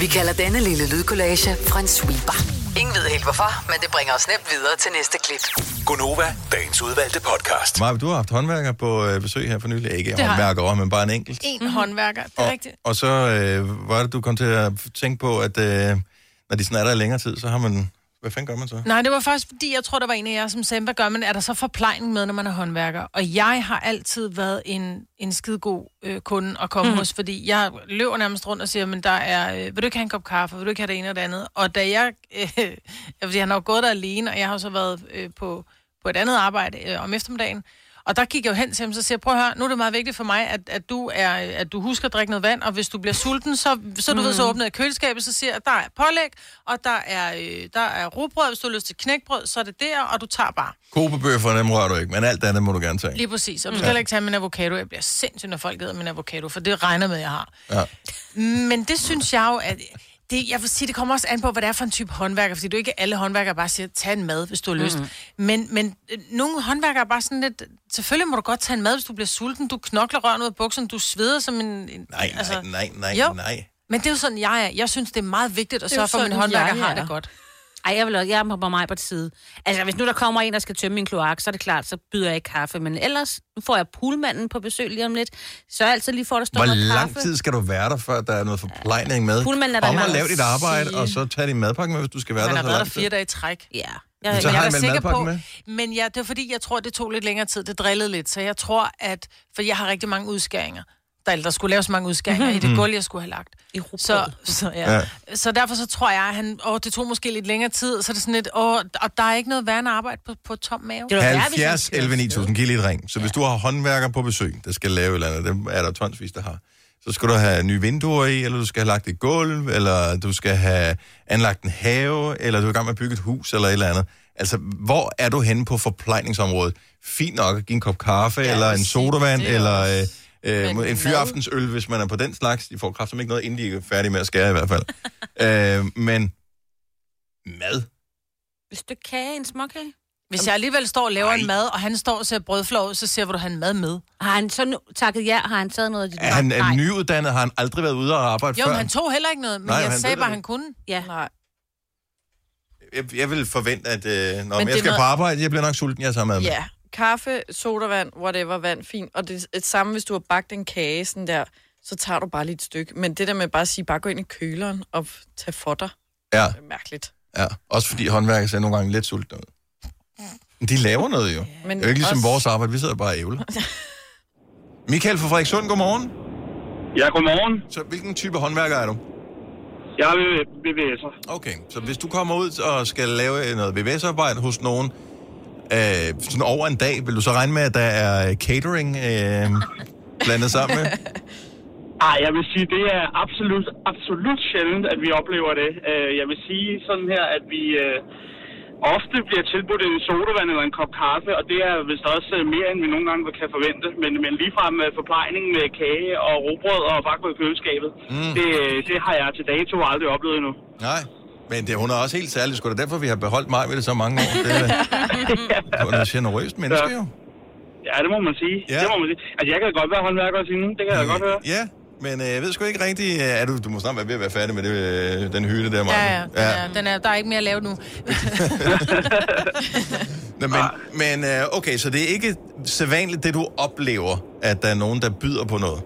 S5: Vi kalder denne lille lydkollage Frans sweeper. Ingen ved helt hvorfor, men det bringer os nemt videre til næste klip.
S7: Gonova, dagens udvalgte podcast.
S1: Maja, du har haft håndværker på øh, besøg her for nylig. Ikke
S2: Altså, har jeg.
S1: håndværkere, men bare en enkelt.
S2: En håndværker, det er
S1: Og,
S2: rigtigt.
S1: og så øh, var det, du kom til at tænke på, at øh, når de sådan er der i længere tid, så har man... Hvad fanden gør man så?
S2: Nej, det var faktisk fordi, jeg tror, der var en af jer, som sagde, hvad gør man? Er der så forplejning med, når man er håndværker? Og jeg har altid været en, en skidegod øh, kunde at komme mm. hos, fordi jeg løber nærmest rundt og siger, men der er, øh, vil du ikke have en kop kaffe? Vil du ikke have det ene og det andet? Og da jeg, øh, ja, fordi han har jo gået der alene, og jeg har jo så været øh, på, på et andet arbejde øh, om eftermiddagen, og der gik jeg jo hen til ham, så siger jeg, prøv at høre, nu er det meget vigtigt for mig, at, at, du, er, at du husker at drikke noget vand, og hvis du bliver sulten, så, så du mm. ved, så åbner jeg køleskabet, så siger jeg, at der er pålæg, og der er, øh, der er rugbrød, hvis du har lyst til knækbrød, så er det der, og du tager bare.
S1: Kobebøfferne, dem rører du ikke, men alt andet må du gerne tage.
S2: Lige præcis, og du skal heller ikke tage min avocado, jeg bliver sindssyg, når folk æder min avocado, for det regner med, jeg har.
S1: Ja.
S2: Men det synes jeg jo, at... Det, jeg vil sige, det kommer også an på, hvad det er for en type håndværker, fordi du ikke alle håndværkere bare siger, tag en mad, hvis du har lyst.
S4: Mm.
S2: Mm-hmm. Men, men øh, nogle håndværkere er bare sådan lidt, selvfølgelig må du godt tage en mad, hvis du bliver sulten, du knokler røven ud af bukserne, du sveder som en... en
S1: Nej,
S3: Altså,
S1: nej, nej, nej,
S2: Jo.
S1: nej.
S2: Men det er jo sådan, jeg er. Jeg synes, det er meget vigtigt at
S4: er jo
S2: sørge for, at min
S4: sådan,
S2: håndværker
S4: jeg
S2: har det
S4: er.
S2: godt.
S3: Ej, jeg vil også, jeg er på mig på side. Altså, hvis nu der kommer en, der skal tømme min kloak, så er det klart, så byder jeg ikke kaffe. Men ellers, nu får jeg poolmanden på besøg lige om lidt. Så er jeg altid lige for, at der står
S1: Hvor
S3: noget
S1: lang
S3: kaffe.
S1: tid skal du være der, før der er noget forplejning med?
S3: Pullman er der
S1: Kom og
S3: mange,
S1: lav dit
S3: der
S1: arbejde,
S3: siger.
S1: og så tag din madpakke med, hvis du skal være
S2: Man har
S1: der så
S2: været der
S1: lang
S2: fire
S1: tid.
S2: dage i træk.
S3: Ja.
S1: Men
S3: Jeg,
S1: så
S3: jeg,
S1: har
S2: jeg
S1: I
S2: er da
S1: vel
S2: sikker
S1: madpakken
S2: på,
S1: med?
S2: men ja, det var fordi, jeg tror, det tog lidt længere tid. Det drillede lidt, så jeg tror, at... For jeg har rigtig mange udskæringer. Der, eller der skulle laves mange udskæringer i det gulv, jeg skulle have lagt.
S3: I rugbrød.
S2: så, så, ja.
S1: Mhm. Ja.
S2: ja. så derfor så tror jeg, at han, åh, det tog måske lidt længere tid, så er det sådan lidt, åh, og der er ikke noget værre end at arbejde på, på tom mave.
S3: det var værre, hvis man
S1: 70
S3: kører
S1: 11
S3: afsted.
S1: 9000, giv lige et ring. Så hvis du har håndværker på besøg, der skal lave et eller andet, dem er der tonsvis, der har. Så skal du have nye vinduer i, eller du skal have lagt et gulv, eller du skal have anlagt en have, eller du er i gang med at bygge et hus, eller et eller andet. Altså, hvor er du henne på forplejningsområdet? Fint nok at give en kop kaffe, ja, eller en
S10: præcis.
S1: sodavand,
S10: Det er
S1: eller
S10: også-
S1: øh,
S10: Men
S1: øh, en
S10: mad?
S1: fyraftensøl, hvis man er på den slags. De får kraftigt ikke noget, inden de er færdige med at skære i hvert fald. øh, men mad?
S3: Hvis du kage, en småkage.
S2: Hvis jeg alligevel står og laver en mad, og han står og ser brødflor ud, så siger, hvor du har en mad med.
S3: Har han så nu, takket ja? Har han taget noget af dit
S1: Er han er nyuddannet? Har han aldrig været ude og arbejde
S2: Jo,
S1: før?
S2: men han tog heller ikke noget, men
S1: Nej,
S2: Nej, jeg
S1: han
S2: sagde
S1: ved
S2: bare,
S1: det
S2: han kunne.
S3: Ja.
S4: Nej.
S1: Jeg, jeg vil forvente, at øh, når
S4: Men
S1: jeg
S4: det er
S1: skal
S4: noget-
S1: på arbejde, jeg bliver nok sulten, jeg tager mad med.
S4: Ja, kaffe, sodavand, whatever, vand, fint. Og det er det samme, hvis du har bagt en kage sådan der, så tager du bare lige et stykke. Men det der med bare at sige, bare gå ind i køleren og tage for dig,
S1: Ja,
S4: det er mærkeligt.
S1: ja. Også fordi håndværker ser nogle gange lidt sultne ud. Men De laver noget jo.
S4: Men
S1: Men det er jo ikke ligesom
S4: også-
S1: vores arbejde, vi sidder bare og ævler. Michael fra Frederikssund, godmorgen.
S11: Ja, godmorgen.
S1: Så hvilken type håndværker er du?
S11: Jeg er VVS'er.
S1: Okay, så hvis du kommer ud og skal lave øh, noget VVS-arbejde hos nogen, øh, sådan over en dag, vil du så regne med, at der er catering øh, blandet sammen med?
S11: Ej, jeg vil sige, det er absolut, absolut sjældent, at vi oplever det. Øh, Jeg vil sige sådan her, at vi øh, ofte bliver tilbudt en sodavand eller en kop kaffe, og det er vist også øh, mere, end vi nogle gange kan forvente. Men, men ligefrem med forplejning med kage og robrød og bakke i køleskabet, mm. det, det har jeg til dato aldrig oplevet endnu.
S1: Nej, men det, hun er også helt særlig. Skulle da derfor, vi har beholdt mig ved det så mange år. Det er, hun er et generøst menneske, jo.
S11: Ja, det må man sige.
S1: Ja.
S11: Det må man sige. Altså, jeg kan godt være håndværker og sige, "Mm, det kan jeg godt høre.
S1: Ja, men øh, jeg ved sgu ikke rigtigt... øh, Er du, du må snart være ved at være færdig med det, øh, den hylde der, Maja.
S2: Ja, ja, den er, den er, der er ikke mere at lave nu.
S1: Nå, men, men øh, okay, så det er ikke sædvanligt, det du oplever, at der er nogen, der byder på noget?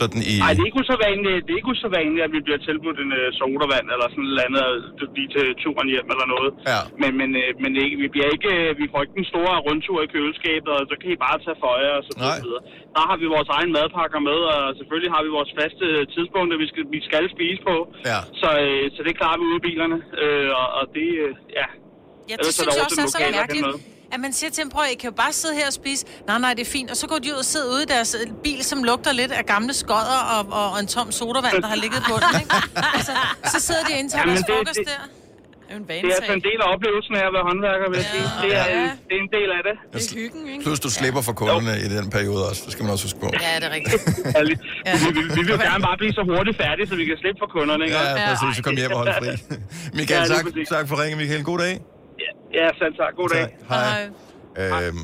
S1: Sådan i...
S11: Nej, det er ikke usædvanligt, øh, det er ikke usædvanligt, at vi bliver tilbudt en øh, sodavand eller sådan et eller andet, øh, lige til turen hjem eller noget.
S1: Ja.
S11: Men, men, øh, men ikke, vi, bliver ikke, øh, vi får ikke den store rundtur i køleskabet, og så kan I bare tage for jer og så
S1: Nej.
S11: videre. Der har vi vores egen madpakker med, og selvfølgelig har vi vores faste tidspunkt, vi skal, vi skal spise på.
S1: Ja.
S11: Så, øh, så det klarer vi ude i bilerne, øh, og, og det, øh, ja.
S2: Ja, det
S11: Ellers er
S2: synes
S11: der
S2: jeg
S11: også
S2: også er
S11: den
S2: så
S11: lokale, der kan
S2: mærkeligt,
S11: noget.
S2: at man siger til dem, prøv at I kan jo bare sidde her og spise. Nej, nej, det er fint. Og så går de ud og sidder ude i deres øh, bil, som lugter lidt af gamle skodder og, og, og en tom sodavand, der har ligget på den, ikke? Altså, så sidder de og indtager
S11: Jamen,
S2: deres
S11: det-
S2: frokost
S11: det-
S2: der.
S4: Det er jo en
S11: Det er altså en del af oplevelsen af at være håndværker, vil jeg sige. Det er, øh, det er en del af det.
S1: Det
S4: er hyggen, ikke?
S1: Plus du slipper for kunderne i den periode også, det skal man også huske på.
S2: Ja, det er rigtigt.
S11: Ja. Vi, vi, vi vil jo gerne bare blive så hurtigt færdige, så vi kan slippe for kunderne. Ikke? også?
S1: Ja, præcis, så kom hjem og hold fri.
S11: Ja,
S1: Michael,
S11: lige
S1: tak, tak for ringen, Michael. God dag.
S11: Ja, selv tak. God dag.
S1: Hej. Øhm,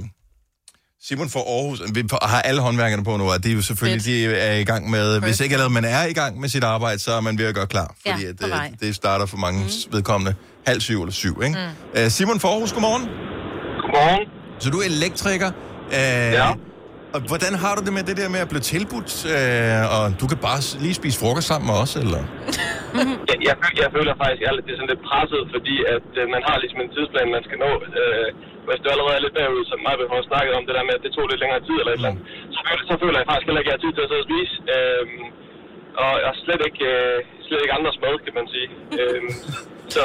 S1: Simon fra Aarhus, vi har alle håndværkerne på nu, og det er jo selvfølgelig, de er i gang med, hvis ikke allerede man er i gang med sit arbejde, så er man ved at gøre klar,
S10: Ja,
S1: fordi
S10: på vej.
S1: at, det, det starter for mange mm. vedkommende halv syv eller syv, ikke? Mm. Øh, Simon fra Aarhus, godmorgen.
S11: Godmorgen.
S1: Så du er elektriker. Øh, ja. Og hvordan har du det med det der med at blive tilbudt, øh, og du kan bare s- lige spise frokost sammen med os, eller?
S12: Jeg, jeg, føl- jeg føler faktisk, at jeg er lidt, det er sådan lidt presset, fordi at øh, man har ligesom en tidsplan, man skal nå. Øh, hvis du allerede er lidt bagud, som mig har snakket om det der med, at det tog lidt længere tid eller et eller andet, så føler, så føler jeg faktisk heller ikke, at jeg har tid til at sidde og spise. Øh, og, og slet, ikke, øh, slet ikke andres mad, kan man sige. Øh, så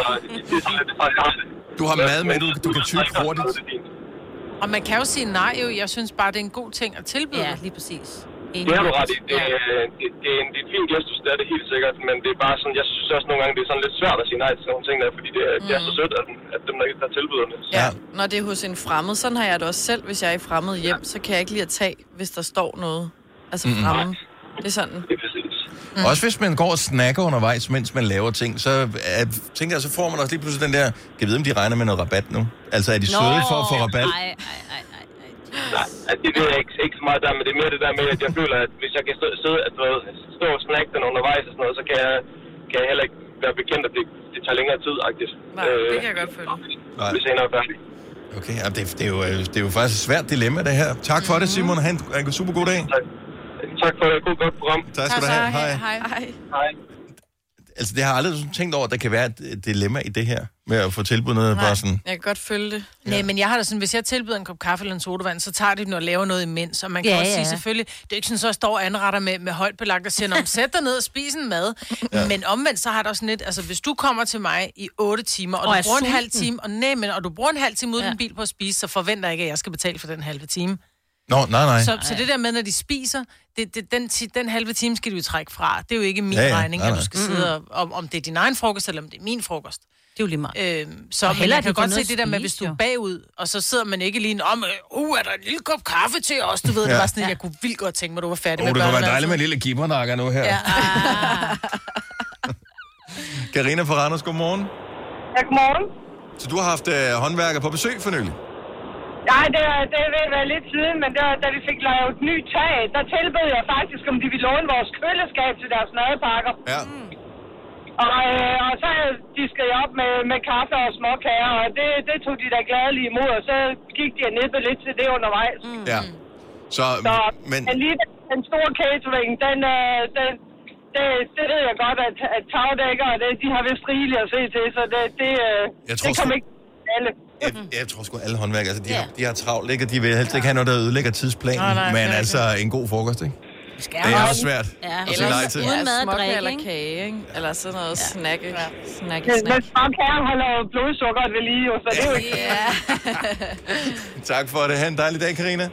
S12: det er sådan lidt, det er faktisk, jeg har det.
S1: Du har mad med, du, du kan tykke hurtigt.
S2: Og man kan jo sige nej jo. Jeg synes bare, det er en god ting at tilbyde. Ja, lige præcis.
S12: Det har du ret i. Det, er, øh, det, det, er en, det er en fin gestus, det er det helt sikkert, men det er bare sådan, jeg synes også nogle gange, det er sådan lidt svært at sige nej til sådan nogle ting der, fordi det, er- det er så sødt, at, at dem, der, der tilbyder det.
S4: Mm. Ja. Når det er hos en fremmed, sådan har jeg det også selv. Hvis jeg er i fremmed hjem, så kan jeg ikke lide at tage, hvis der står noget. Altså
S1: Mm-mm.
S4: fremme. Det er sådan.
S1: Mm. Også hvis man går og snakker undervejs, mens man laver ting, så er, tænker jeg, så får man også lige pludselig den der, kan jeg vide, om de regner med noget rabat nu? Altså, er de Nå, søde for at få rabat?
S12: Nej, nej, altså, det ved jeg ikke, ikke så meget der, men det er mere det der med, at jeg føler, at hvis jeg kan stå, sidde, at, du ved, stå og snakke den undervejs og sådan noget, så kan jeg, kan jeg heller ikke være bekendt, at det, det tager længere tid, agtigt. Øh,
S4: Nej, det kan jeg godt føle.
S1: Nej.
S12: Hvis jeg er færdig.
S1: Okay, ja, det, det, er jo, øh, det er jo faktisk et svært dilemma, det her. Tak for det, Simon. Han en, en super god dag.
S12: Tak. Tak for det. God godt program.
S1: Tak skal du have. Hej.
S4: Hej.
S12: Hej.
S1: Altså, det har jeg aldrig sådan tænkt over, at der kan være et øh, dilemma i det her, med at få tilbudt noget bare sådan.
S4: Jeg kan godt følge det.
S2: Ja. Nej, men jeg har da sådan, hvis jeg tilbyder en kop kaffe eller en sodavand, så tager de den og laver noget imens. Og man kan
S3: Ja,
S2: ja, også
S3: ja.
S2: sige selvfølgelig, det er ikke sådan, så jeg står og anretter med, med højt belagt og siger, "Nå, men sæt dig ned og spis en mad.
S3: Ja.
S2: Ja. Men omvendt, så har der også sådan lidt, altså hvis du kommer til mig i 8 timer, og,
S3: Og
S2: og
S3: er
S2: du bruger en halv
S3: sulten.
S2: time, og, nej, men, og du bruger en halv time uden ja. din bil på at spise, så forventer jeg ikke, at jeg skal betale for den halve time.
S1: Nå, nej, nej.
S2: Så, så det der med, når de spiser, det, det, den, ti- den halve time skal du jo trække fra. Det er jo ikke min
S1: Ja,
S2: ja,
S1: ja.
S2: regning,
S1: Nej,
S2: at
S1: nej.
S2: du skal sidde og, om, om det er din egen frokost, eller om det er min frokost.
S3: Det er jo lige meget.
S2: Øh, så
S3: Og
S2: men
S3: hellere,
S2: jeg
S3: de
S2: kan
S3: får
S2: godt se
S3: noget
S2: det
S3: at
S2: der med,
S3: spise,
S2: hvis du
S3: jo.
S2: er bagud, og så sidder man ikke lige en om, øh, uh, er der en lille kop kaffe til os? Du ved, ja.
S1: Ja.
S2: det var sådan, at jeg kunne vildt godt tænke mig, du var færdig
S1: Åh, oh, det kunne være
S2: børneværelset.
S1: dejligt med en lille gibbernakker nu her.
S2: Ja.
S1: Karina fra Randers, godmorgen.
S10: Ja, godmorgen.
S1: Så du har haft øh, håndværker på besøg for nylig?
S10: Nej, det, er- det vil være lidt siden, men det var, da vi fik lavet et nyt tag, der tilbød jeg faktisk, om de ville låne vores køleskab til deres madpakker.
S1: Ja.
S10: Og, øh, og så diskede jeg op med, med kaffe og småkager, og det, det tog de da gladeligt imod, og så gik de og nippede lidt til det undervejs. Mm.
S1: Ja. Så,
S10: Så
S1: men,
S10: men... lige den store catering, den, øh, den, det, det ved jeg godt, at, at tagdækker, det, de har vist rigeligt at se til, så det, det, øh,
S1: Jeg tror
S10: det kom
S1: sgu-
S10: ikke til alle.
S1: jeg tror sgu alle håndværkere, altså, de, har, de har travlt, ikke? Og de vil helst ikke have noget, der ødelægger tidsplanen.
S2: Nej, nej, det
S1: men
S2: er
S1: altså, en god frokost, ikke?
S3: Skal
S1: Det er svært at sige nej til.
S4: Uden mad og
S3: drikke,
S4: eller kage, ikke? Eller sådan noget ja. snakke. Ja. Snakke,
S10: Men, men
S4: snakke.
S10: småkager har lavet blodsukkeret ved lige, jo, så det er jo ikke...
S4: Ja.
S1: Tak for det. Ha' en dejlig dag, Karina.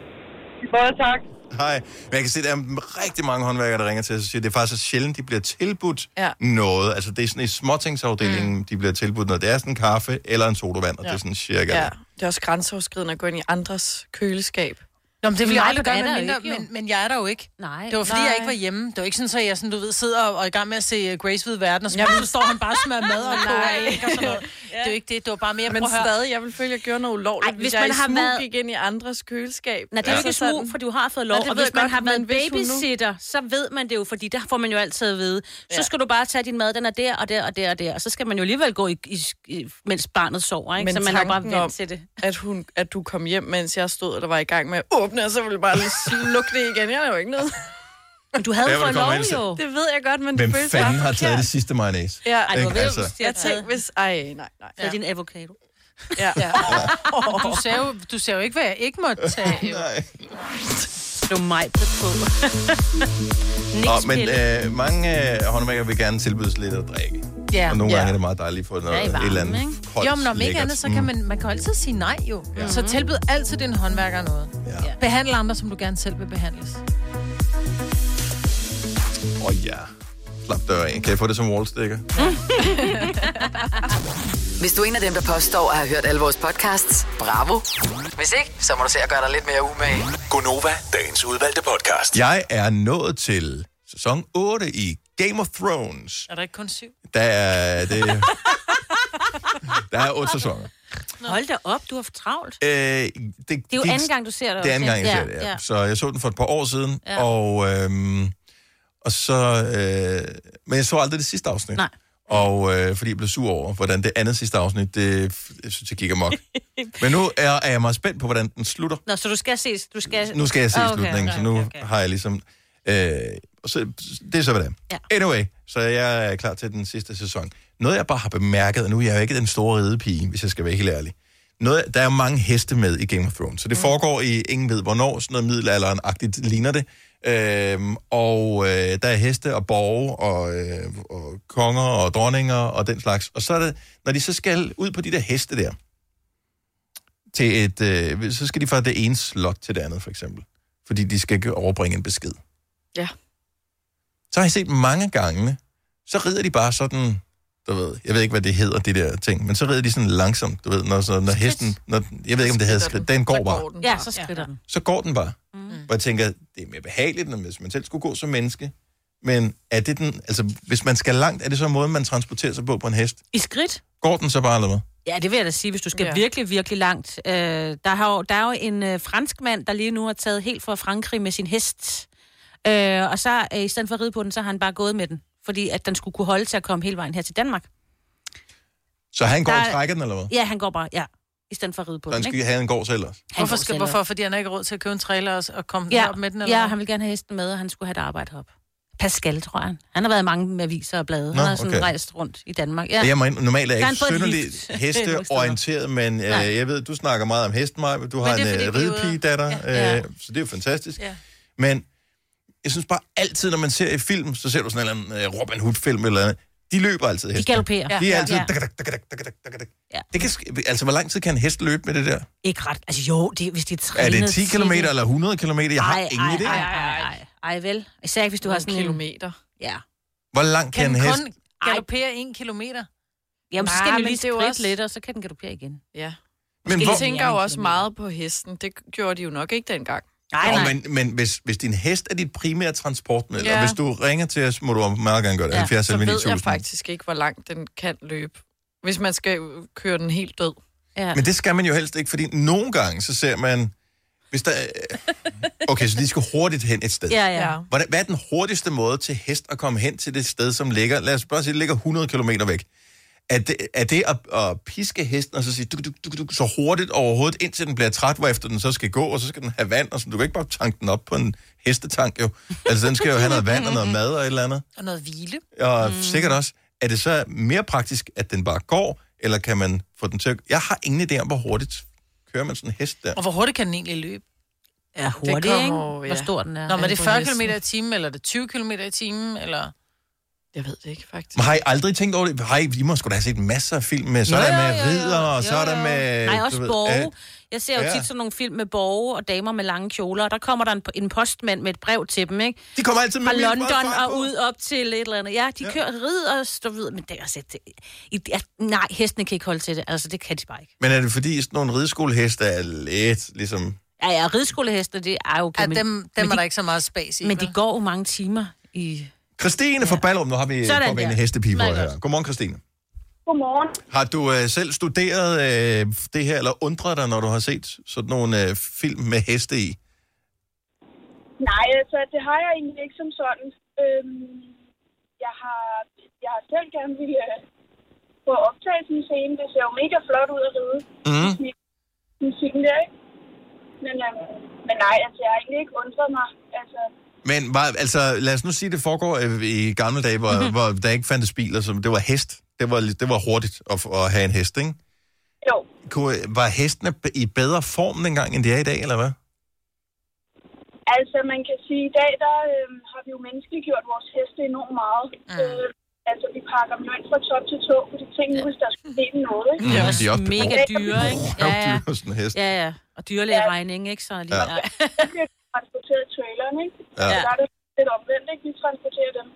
S10: Både tak.
S1: Hej. Men jeg kan se, at der er rigtig mange håndværkere, der ringer til os og siger, at det er faktisk så sjældent, de bliver tilbudt
S4: Ja.
S1: noget. Altså, det er sådan i småtingsafdelingen, mm. de bliver tilbudt noget. Det er sådan en kaffe eller en sodavand, og ja. det er sådan cirka.
S4: Ja. Det er også grænseoverskridende at gå ind i andres køleskab.
S2: Nå, men det ville jeg
S4: Nej,
S2: aldrig
S4: det
S2: gøre
S4: er
S2: med mindre,
S4: der jo ikke, jo.
S2: men, men jeg er der jo ikke.
S3: Nej.
S2: Det var fordi, Nej.
S4: Nej.
S2: jeg ikke var hjemme. Det var ikke sådan, så jeg sådan, du ved, sidder og, og er i gang med at se øh, Grace ved verden, og så, så står han bare og smører mad og koger
S4: Nej.
S2: æg og sådan noget. Det er jo ikke det. Det var bare mere,
S4: Men
S2: prøv at høre.
S4: stadig, jeg vil føle, at jeg gjorde noget ulovligt,
S3: Ej,
S4: hvis,
S3: hvis
S4: jeg
S3: man
S4: i
S3: har
S4: smug
S3: været-
S4: gik ind i andres køleskab.
S3: Nej, det er jo ikke
S4: Altså sådan-
S3: smug, for du har fået lov.
S4: Nej, det
S3: og
S4: ved
S3: hvis
S4: jeg
S3: man
S4: godt,
S3: har været
S4: men hvis hun nu-
S3: babysitter, så ved man det jo, fordi der får man jo altid at vide. Så
S4: Ja.
S3: skal du bare tage din mad, den er der og der og der og der. Og så skal man jo alligevel gå, i, i, i, mens barnet sover, ikke?
S4: Men
S3: så man er bare
S4: tanken om,
S3: vant til det.
S4: At, hun, at du kom hjem, mens jeg stod og der var i gang med at åbne, og så ville jeg bare lige slukke det igen. Jeg lavede jo ikke noget.
S3: Men du havde
S1: Der,
S3: jo
S1: hvor
S3: fået
S1: det kommer
S3: lov,
S1: hen til.
S3: jo.
S4: Det ved jeg godt, men
S1: Hvem
S4: det føles
S1: fanden
S4: bare
S1: har taget
S4: forkert.
S1: det sidste mayonnaise?
S4: Ja, ej,
S3: Ej, du
S1: Ikke?
S3: var ved,
S1: Altså.
S3: altså.
S4: jeg tænkte, hvis... Ej, nej, nej.
S3: Ja. din avocado.
S4: Ja. ja.
S2: Du sagde, jo, du sagde jo ikke, hvad jeg ikke måtte tage. Jo.
S1: Nej.
S3: Du mig på.
S1: Og,
S3: Niks
S1: men
S3: pille.
S1: øh, mange øh, håndværkere vil gerne tilbydes lidt at drikke.
S2: Ja.
S1: Og nogle gange
S4: Ja.
S1: er det meget dejligt for noget,
S3: Ja, i
S1: et
S3: varmen,
S1: eller andet
S3: ikke?
S1: koldt,
S2: Jo, men om ikke
S1: lækkert. Mm.
S2: andet, så kan man, man kan altid sige nej jo. Ja. Så tilbyd altid din håndværker noget.
S1: Ja.
S2: Ja. Behandle andre, som du gerne selv vil behandles.
S1: Åh oh, ja. Slap dør af. Kan jeg få det som wallsticker?
S5: Hvis du er en af dem, der påstår at have hørt alle vores podcasts, bravo. Hvis ikke, så må du se at gøre dig lidt mere umage.
S13: Gonova, dagens udvalgte podcast.
S1: Jeg er nået til sæson 8 i Game of Thrones.
S2: Er der ikke kun syv?
S1: Der er det... Der er otte sæsoner.
S3: Hold da op, du har haft travlt.
S1: Øh, det, det
S3: er jo anden gang, du ser det
S1: Det er
S3: også,
S1: anden gang, jeg
S3: ikke?
S1: ser
S3: Ja,
S1: det, ja.
S3: ja.
S1: Så jeg så den for et par år siden,
S3: Ja.
S1: og, øhm, og så... Øh, men jeg så aldrig det sidste afsnit.
S3: Nej.
S1: Og øh, fordi jeg blev sur over, hvordan det andet sidste afsnit, det, jeg synes, jeg gik amok. men nu er, er jeg meget spændt på, hvordan den slutter.
S3: Nå, så du skal ses. Du skal...
S1: nu skal jeg se
S3: Ah,
S1: okay, slutningen, så nu okay, okay. har jeg ligesom... Øh, og så, det er så, hvad det er. Ja. Anyway, så jeg er klar til den sidste sæson. Noget, jeg bare har bemærket, og nu er jeg jo ikke den store ridepige, hvis jeg skal være helt ærlig. Noget, der er mange heste med i Game of Thrones, så det mm. foregår i ingen ved hvornår, sådan noget middelalderen-agtigt ligner det. Øhm, og øh, der er heste og borge og, øh, og konger og dronninger og den slags. Og så er det, når de så skal ud på de der heste der, til et, øh, så skal de fra det ene slot til det andet, for eksempel. Fordi de skal overbringe en besked.
S4: Ja.
S1: Så har jeg set mange gange, så rider de bare sådan, du ved, jeg ved ikke, hvad det hedder, det der ting, men så rider de sådan langsomt, du ved, når, så, når hesten, når, jeg ved ikke, om det hedder skridt, den går bare.
S4: den.
S3: Ja, så skritter den.
S1: Så går den bare. Mm. Og jeg tænker, det er mere behageligt, end hvis man selv skulle gå som menneske. Men er det den, altså, hvis man skal langt, er det så en måde, man transporterer sig på på en hest?
S3: I skridt?
S1: Går den så bare, eller hvad?
S3: Ja, det vil jeg da sige, hvis du skal
S4: Ja.
S3: ja. virkelig, virkelig langt. Øh, der, har jo, der er jo en øh, fransk mand, der lige nu har taget helt fra Frankrig med sin hest. Øh, og så øh, i stedet for at ride på den, så har han bare gået med den. Fordi at den skulle kunne holde til at komme hele vejen her til Danmark.
S1: Så han går
S3: Der
S1: og
S3: er-
S1: trækker den, eller hvad?
S3: Ja, han går bare, ja. I stedet for at ride på
S1: Så han
S3: den, ikke?
S1: skal have en gård selv også.
S3: Han
S2: Hvorfor,
S3: går
S2: skal,
S3: selv
S2: hvorfor?
S3: op.
S2: Fordi han har ikke råd til at købe en trailer og, og komme ja.
S3: Ja,
S2: op med den? Eller
S3: ja,
S2: hvad?
S3: han vil gerne have hesten med, og han skulle have et arbejde herop. Pascal, tror jeg. Han har været i mange aviser og blade.
S1: Nå,
S3: han har sådan
S1: okay.
S3: okay. rejst rundt i Danmark.
S1: Ja.
S3: Ja.
S1: Jeg må, ind- normalt er jeg
S3: Gerne
S1: ikke
S3: få et
S1: synderlig
S3: lift.
S1: hesteorienteret, men øh,
S3: Nej.
S1: jeg ved, du snakker meget om hesten, Maja, du har
S2: det
S1: en
S2: er, fordi
S1: øh,
S2: vi er ude-
S1: ridepigedatter,
S3: Ja.
S1: ja. øh, så det er jo fantastisk.
S2: Ja.
S1: Men jeg synes bare altid, når man ser et film, så ser du sådan en eller anden øh, Robin Hood-film eller andet, de løber altid
S3: De
S1: hesten.
S3: galopperer.
S1: De er
S3: Ja.
S1: altid...
S3: Ja.
S1: dak, dak, dak, dak, dak, dak, dak, dak.
S3: Ja.
S1: Det kan, sk- altså, hvor lang tid kan en hest løbe med det der?
S3: Ikke ret. Altså jo, det, hvis de er
S1: Er
S3: trænet...
S1: det 10
S3: til
S1: km eller 100 km? Jeg har ingen idé.
S3: Ej, ej, ej, ej, vel. Især ikke, hvis du har sådan en...
S4: kilometer.
S3: Ja.
S1: Hvor langt kan,
S2: Kan
S1: en
S2: den
S1: hest...
S2: kun galopere en kilometer?
S3: Jamen, så
S4: Nej,
S3: skal den
S4: men
S3: lige
S4: det er jo
S3: spritte
S4: også-
S3: også... lidt, og så kan den galopere igen.
S4: Ja.
S1: Men
S4: Men de
S1: hvor-
S4: tænker jo også meget på hesten. Det gjorde de jo nok ikke dengang.
S1: Nå, men, men hvis, hvis din hest er dit primære transportmiddel, ja.
S4: Ja.
S1: og hvis du ringer til os, må du meget gerne gøre det. Ja, 70
S4: så
S1: 11
S4: ved jeg
S1: 9000.
S4: faktisk ikke, hvor langt den kan løbe. Hvis man skal køre den helt død.
S3: Ja.
S1: Men det skal man jo helst ikke, fordi nogle gange, så ser man... Hvis der, okay, så de skal hurtigt hen et sted.
S3: Ja, ja.
S1: Hvordan, hvad er den hurtigste måde til hest at komme hen til det sted, som ligger... Lad os bare sige, det ligger 100 km væk. Er det, er det at, at piske hesten og så sige, du, du, du, du, så hurtigt overhovedet, indtil den bliver træt, hvorefter den så skal gå, og så skal den have vand, og så, du kan ikke bare tanke den op på en hestetank, jo. Altså, den skal jo have noget vand og noget mad og et eller andet.
S2: Og noget hvile.
S1: Og mm. sikkert også, er det så mere praktisk, at den bare går, eller kan man få den til at... Jeg har ingen idé om, hvor hurtigt kører man sådan en hest der.
S2: Og hvor hurtigt kan den egentlig løbe?
S3: Ja,
S1: hurtigt,
S3: ikke? Hvor stor den er.
S2: Nå, men er det
S3: På
S2: 40
S3: hesten.
S2: km i timen, eller er det 20 km i timen, eller...
S4: Jeg ved det ikke, faktisk.
S1: Men har I aldrig tænkt over det? Har I, I må sgu da have set masser af film med, så er
S3: Jo,
S1: der
S3: jo,
S1: med
S3: jo, jo.
S1: ridder, og så er der med...
S3: Nej,
S1: du
S3: også
S1: ved,
S3: borge.
S1: alt.
S3: Jeg ser jo
S1: Ja.
S3: tit sådan nogle film med borge og damer med lange kjoler, og der kommer der en, en postmand med et brev til dem, ikke?
S1: De kommer altid med
S3: Fra
S1: min
S3: London
S1: farfar på.
S3: og ud op til et eller andet. Ja, de ja. kører ridder og står ved, men det er altså... Det, i, ja, nej, hestene kan ikke holde til det. Altså, det kan de bare ikke.
S1: Men er det fordi, sådan nogle rideskoleheste er lidt ligesom...
S3: Ja, ja, rideskoleheste, det er jo... Okay,
S2: Ja, dem- dem er der ikke så meget spas i,
S3: Men de
S2: vel?
S3: går jo mange timer i...
S1: Christine fra Ballerup, nu har vi
S3: Sådan
S1: sådan, en
S3: der.
S1: hestepige
S3: Meget
S1: her.
S3: godt.
S1: Godmorgen, Christine.
S14: Godmorgen.
S1: Har du øh, selv studeret øh, det her, eller undret dig, når du har set sådan nogle øh, film med heste i?
S14: Nej, altså, det har jeg egentlig ikke som sådan. Øhm, jeg, har, jeg har selv gerne ville øh, få optaget sådan en scene. Det ser jo mega flot ud at ride.
S1: Mm.
S14: Musikken der, ikke? Men, øhm, men nej, altså, jeg har egentlig ikke undret mig. Altså,
S1: Men var, altså, lad os nu sige, det foregår øh, i gamle dage, hvor, mm-hmm. hvor der ikke fandtes biler, så det var hest. Det var, det var hurtigt at, at have en hest, ikke?
S14: Jo.
S1: Kunne, var hestene b- i bedre form dengang, end de er i dag, eller hvad?
S14: altså man kan sige, i dag, der øhm, har vi jo menneskeliggjort vores heste enormt meget. Mm. Øh, altså, vi pakker dem jo ind fra top til tå, fordi tingene, hvis der skulle ske noget, ikke?
S1: Mm, de er også
S3: mega dyre, ikke?
S1: Ja, ja. Dyr, sådan en hest.
S3: Ja, ja. Og dyrlægeregning, ikke? Så lige,
S1: Ja.
S3: ja.
S14: De bliver transporteret i traileren, ikke?
S1: Ja.
S14: Så Der er det lidt omvendt, ikke? Vi transporterer dem.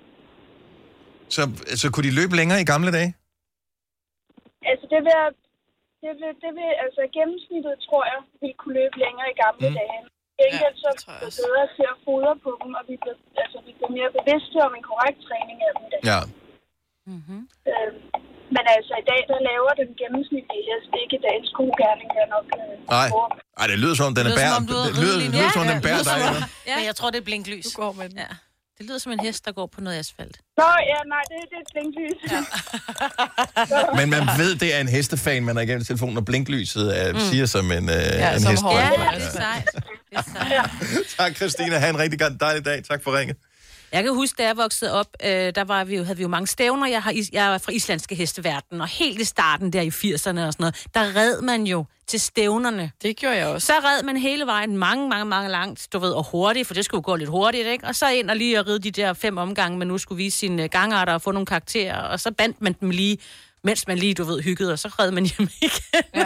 S1: Så, så kunne de løbe længere i gamle dage?
S14: Altså, det vil, jeg- det vil, det vil, altså gennemsnittet, tror jeg, ville kunne løbe længere i gamle
S1: Mm.
S14: mm. dage. Gengæld så er vi blevet bedre til at fodre på dem, og vi blev, altså, vi blev mere bevidste om en korrekt træning af dem. i dag.
S1: Ja.
S14: Øh, men altså, i dag, der laver den gennemsnitlige hest ikke dagens gode gerning, der nok... Øh,
S1: Nej.
S14: bruger.
S1: Ej, det lyder som om, den er
S2: lyder,
S1: bær.
S2: som om du
S1: Det lyder, det lyder som om, den bærer dig. eller?
S2: Ja. Men jeg tror, det er blinklys. Du
S4: går med den.
S2: Ja.
S3: Det lyder som en hest, der går på noget asfalt.
S14: Nå, ja, nej, det, det er et blinklys. Ja.
S1: Men man ved, det er en hestefan, man er igennem telefonen, og blinklyset er,
S14: Mm.
S1: mm. siger som en, øh,
S14: Ja,
S1: en
S14: som
S1: hest.
S14: hårdt.
S3: Ja, det er sejt. Det er sejt.
S1: tak, Christina. Ha' en rigtig god- dejlig dag. Tak for ringet.
S3: Jeg kan huske, da jeg voksede op, øh, der var vi jo, havde vi jo mange stævner. Jeg, har, is- jeg er fra islandske hesteverden, og helt i starten der i 80'erne og sådan noget, der red man jo til stævnerne.
S4: Det gjorde jeg også.
S3: Så red man hele vejen mange, mange, mange langt, du ved, og hurtigt, for det skulle jo gå lidt hurtigt, ikke? Og så ind og lige at ride de der fem omgange, man nu skulle vise sine øh, gangarter og få nogle karakterer, og så bandt man dem lige, mens man lige, du ved, hyggede, og så red man hjem igen.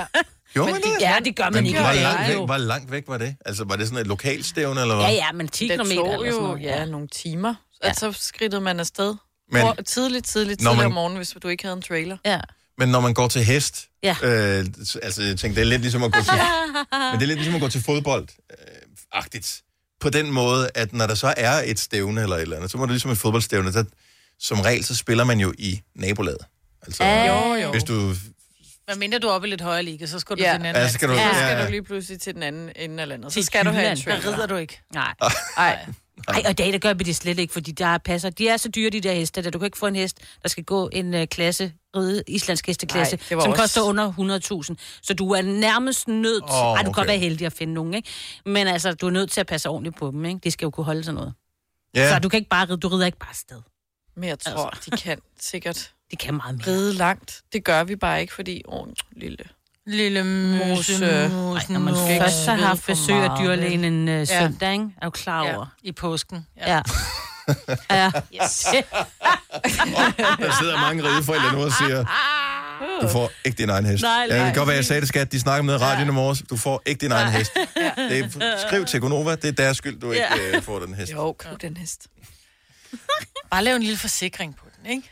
S1: Jo,
S3: Men det- ja, det gør man
S1: men
S3: ikke.
S1: Hvor
S3: Det er
S1: langt,
S3: jo-
S1: væk, hvor langt væk var det? Altså, var det sådan et lokalstævne, eller hvad?
S3: Ja, ja, men 10
S4: Det
S3: km
S4: tog
S3: eller sådan
S4: jo,
S3: noget.
S4: ja, nogle timer. Ja. Og så skridtede man afsted.
S1: Men-
S4: Men, Hvor, tidligt, tidligt,
S1: Når
S4: tidligt
S1: man-
S4: om morgenen, hvis du ikke havde en trailer.
S3: Ja.
S1: Men når man går til hest,
S3: Ja.
S1: øh, altså jeg tænkte, det er lidt ligesom at gå til, men det er lidt ligesom at gå til fodbold, øh, agtigt. På den måde, at når der så er et stævne eller et eller andet, så må det ligesom et fodboldstævne, der, som regel, så spiller man jo i nabolaget. Altså,
S2: Ja. Jo, jo.
S1: Hvis du,
S2: Hvad mindre du er oppe i lidt højere liga, så skal du
S4: Ja.
S2: til den anden.
S1: Ja, så skal du-
S4: Så
S1: Ja.
S4: skal du lige pludselig til den anden ende af landet. Så
S2: Til
S4: skal du have en
S2: Jylland.
S4: trailer.
S2: Der rider du ikke.
S3: Nej.
S4: Ah. Nej.
S3: Ej, og i dag, der gør vi det slet ikke, fordi der passer. De er så dyre, de der heste, at du kan ikke få en hest, der skal gå en uh, klasse, ride islandsk hesteklasse,
S4: Nej, det
S3: som
S4: var
S3: også...
S4: også-
S3: koster under 100.000. Så du er nærmest nødt...
S4: Åh,
S3: Oh, Ej, du kan godt
S4: okay.
S3: være heldig at finde nogen, ikke? Men altså, du er nødt til at passe ordentligt på dem, ikke? De skal jo kunne holde sådan noget.
S4: Ja.
S3: Så du kan ikke bare ride, du rider ikke bare afsted.
S4: Men jeg tror,
S3: Altså.
S4: altså. de kan sikkert
S3: de kan meget mere.
S4: ride langt. Det gør vi bare ikke, fordi... Åh, lille...
S2: Lille
S4: mose.
S2: øh, Ej,
S3: Når man
S4: Nå,
S3: først har
S4: ved
S3: haft
S4: for
S3: besøg af
S4: meget,
S3: dyrlægen en
S2: øh,
S4: vel?
S3: uh, søndag, ikke? Er du klar
S2: Ja.
S3: over?
S2: I påsken.
S3: Ja. Ja.
S2: Yes.
S1: der sidder mange rige forældre nu og siger, du får ikke din egen hest.
S3: Nej,
S1: ja, det
S3: nej.
S1: kan godt være, jeg sagde det, skat. De snakker med i radioen i morges. Du får ikke din egen hest. Det er, skriv til Gonova. Det er deres skyld, du ikke
S2: Ja.
S1: øh, får den hest.
S4: Jo, køb den hest.
S2: Bare lav en lille forsikring på den. ikke?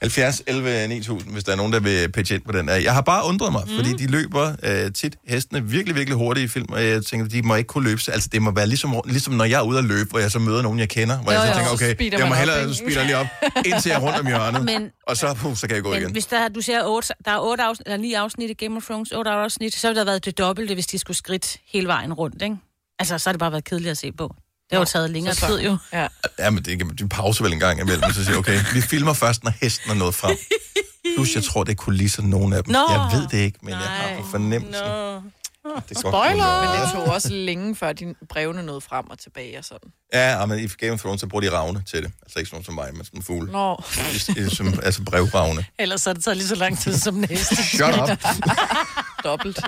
S1: 70, 11, 9000, hvis der er nogen, der vil pitche ind på den. her. Jeg har bare undret mig, mm. fordi
S3: Mhm.
S1: de løber øh, tit hestene virkelig, virkelig hurtigt i film, og jeg tænker, de må ikke kunne løbe. så- Altså, det må være ligesom, ligesom når jeg er ude at løbe, og jeg så møder nogen, jeg kender, hvor
S3: Jo,
S1: jo, jeg
S3: jo.
S1: så tænker,
S3: Så
S1: okay,
S3: speeder
S1: jeg
S3: man
S1: må
S3: op,
S1: hellere
S3: ikke?
S1: spille lige op, indtil jeg er rundt om hjørnet,
S3: Men-
S1: men, og så, puh, så kan jeg gå
S3: Men
S1: igen.
S3: hvis der, du ser, otte, der er otte afsnit, eller ni afsnit i Game of Thrones, otte afsnit, så ville der have været det dobbelte, hvis de skulle skridt hele vejen rundt, ikke? Altså, så har det bare været kedeligt at se på. Det har jo taget længere
S4: så-
S3: tid, jo.
S4: Ja.
S1: Ja, men det, kan- de pauser vel en gang imellem, og så siger jeg, okay, vi filmer først, når hesten er nået frem. Plus, jeg tror, det er kulisser, nogen af dem.
S4: Nå.
S1: Jeg ved det ikke, men Nej. jeg har på fornemmelsen. Ah, Det er godt,
S4: Spoiler! Men
S1: men- øh,
S4: det tog også længe, før de brevene nåede frem og tilbage og sådan.
S1: Ja, og men i Game of Thrones, så bruger de ravne til det. Altså ikke sådan nogen som mig, men sådan en fugle.
S4: Nå.
S1: I- i- Som, altså brevravne.
S2: Ellers har det taget lige så lang tid som næste.
S1: Shut up.
S4: Dobbelt.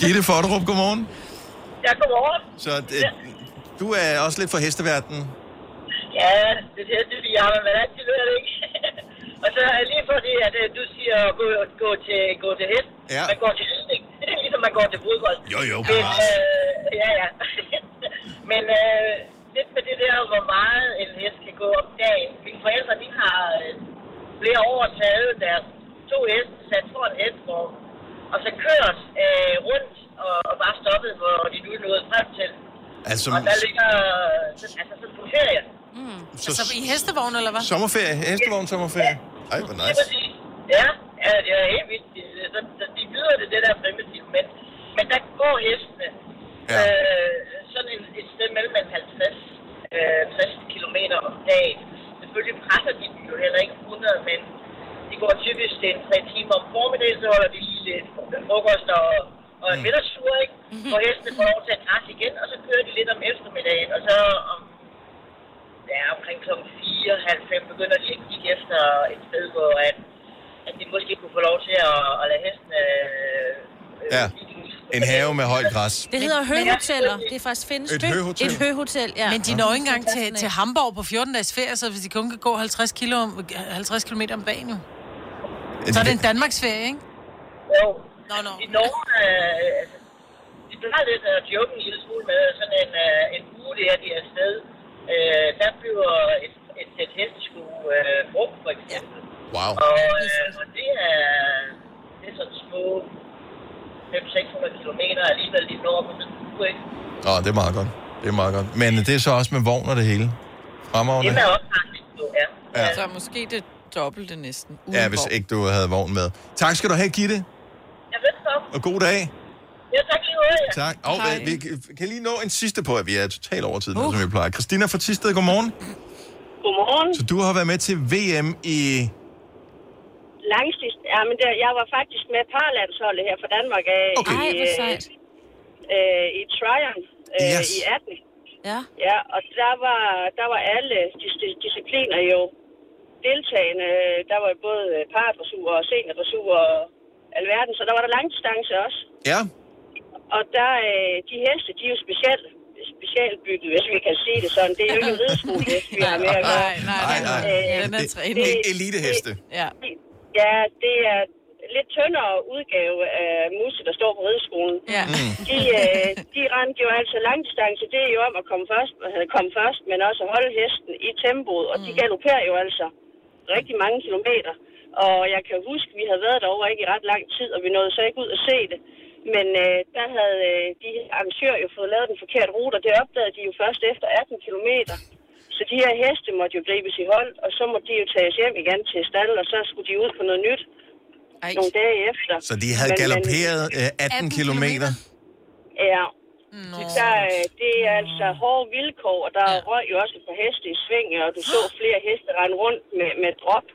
S1: Gitte Fodderup, godmorgen.
S15: Jeg kommer over.
S1: Så det, du er også lidt fra hesteverdenen.
S15: Ja, det er det, vi har, men man er altid ved det, ikke? og så er lige fordi, at øh, du siger at gå, gå, til, gå til hest.
S1: Ja.
S15: Man går til hestning. Det er ligesom, man går til fodbold.
S1: Jo, jo,
S15: Men,
S1: bevares.
S15: øh, ja, ja. men øh, lidt med det der, hvor meget en hest kan gå om dagen. Mine forældre, de har øh, flere år taget deres to heste, sat foran en hestvogn, og så kørt øh, rundt og, og bare stoppet, hvor de nu er nået frem til.
S1: Altså,
S15: og der ligger øh, sådan- altså sådan på ferie.
S1: Så- Altså
S2: Mm. i hestevogn, eller hvad?
S1: Sommerferie, hestevogn sommerferie. Ej, hvor
S15: Lige
S1: nice.
S15: præcis. Ja, ja, det er helt vildt. Det er sådan- så De byder det, det der primitivt, men, men der går hestene
S1: ja.
S15: øh, sådan et, et sted mellem en 50, øh, 60 km om dagen. Selvfølgelig presser de dem jo heller ikke 100, men de går typisk til en 3 timer om formiddagen, så holder de lige lidt frokost og, og en
S16: Mm.
S15: middagstur, ikke? Hvor hestene får lov til at græsse igen, og så kører de lidt om eftermiddagen, og så om ja, omkring kl. 4, halv 5 begynder de at kigge efter et sted, hvor at, at de måske kunne få lov til at, at lade hesten... Øh,
S1: Ja. En have med højt græs.
S3: Det hedder høhoteller. Det er faktisk findes.
S1: Et høhotel.
S3: Et høhotel, ja.
S2: Men de når ikke engang til, til Hamburg på 14 dages ferie, så hvis de kun kan gå 50, kilo om, 50 km om dagen jo. Så er det en Danmarks ferie, ikke?
S15: Jo.
S2: Nå, nå.
S15: I Norge, øh, altså, de plejer lidt at joke en lille smule med sådan en, øh, en uge, det er de er afsted. Øh, der bliver et, et sæt hesteskue øh, brugt, for eksempel.
S1: Wow.
S15: Og, øh, og det, er, det er sådan små 500-600 kilometer alligevel lige når på sådan en uge, ikke?
S1: Åh, det er meget godt. Det er meget godt. Men det er så også med vogn og det hele. Fremragende.
S4: Det er
S15: også ja.
S1: Ja.
S4: Så måske det dobbelte næsten. uden
S1: Ja, hvis
S4: vogn.
S1: ikke du havde vogn med. Tak skal du have, Gitte.
S15: Jeg ved så.
S1: Og god dag.
S15: Ja, tak lige måde. ja.
S1: Tak. Og øh, vi kan- kan lige nå en sidste på, at vi er totalt over tiden, uh. som vi plejer. Christina fra Tisted, godmorgen.
S16: Godmorgen.
S1: Så du har været med til VM i...
S16: Langslisten. Ja, men der, jeg var faktisk med parlandsholdet her fra Danmark af
S1: Okay.
S16: i,
S1: Ej, hvor
S16: øh,
S1: sejt.
S16: øh, i Tryon øh,
S1: Yes.
S16: i 18. Ja. ja, og der var, der var alle dis- discipliner jo deltagende. Der var både pardressur og seniordressur og alverden, så der var der langdistance også.
S1: Ja.
S16: Og der, øh, de heste, de er jo specielt specialbygget, hvis vi kan sige det sådan. Det er jo ikke en rideskole, hest, vi har med at gøre. Øh,
S4: Nej, nej, nej, nej. Den er trænet.
S1: Eliteheste.
S4: Ja.
S16: Ja, det er lidt tyndere udgave af Musse, der står på rideskolen.
S4: Ja.
S16: De, øh, de rendte jo altså langdistance. Det er jo om at komme først, øh, komme først men også at holde hesten i tempoet. Og
S4: Mm.
S16: de galopperer jo altså rigtig mange kilometer. Og jeg kan huske, vi havde været derovre ikke i ret lang tid, og vi nåede så ikke ud at se det. Men øh, der havde øh, de her arrangører jo fået lavet den forkerte rute, og det opdagede de jo først efter 18 kilometer. Så de her heste måtte jo gribes i hold, og så måtte de jo tages hjem igen til stallen, og så skulle de ud på noget nyt Ej. nogle dage efter.
S1: Så de havde
S16: Men- men-
S1: galopperet øh, 18 kilometer.
S16: Ja. Så der, øh, det er altså hårde vilkår, og der røg jo også et par heste i sving, og du så flere heste rende rundt med, med drop.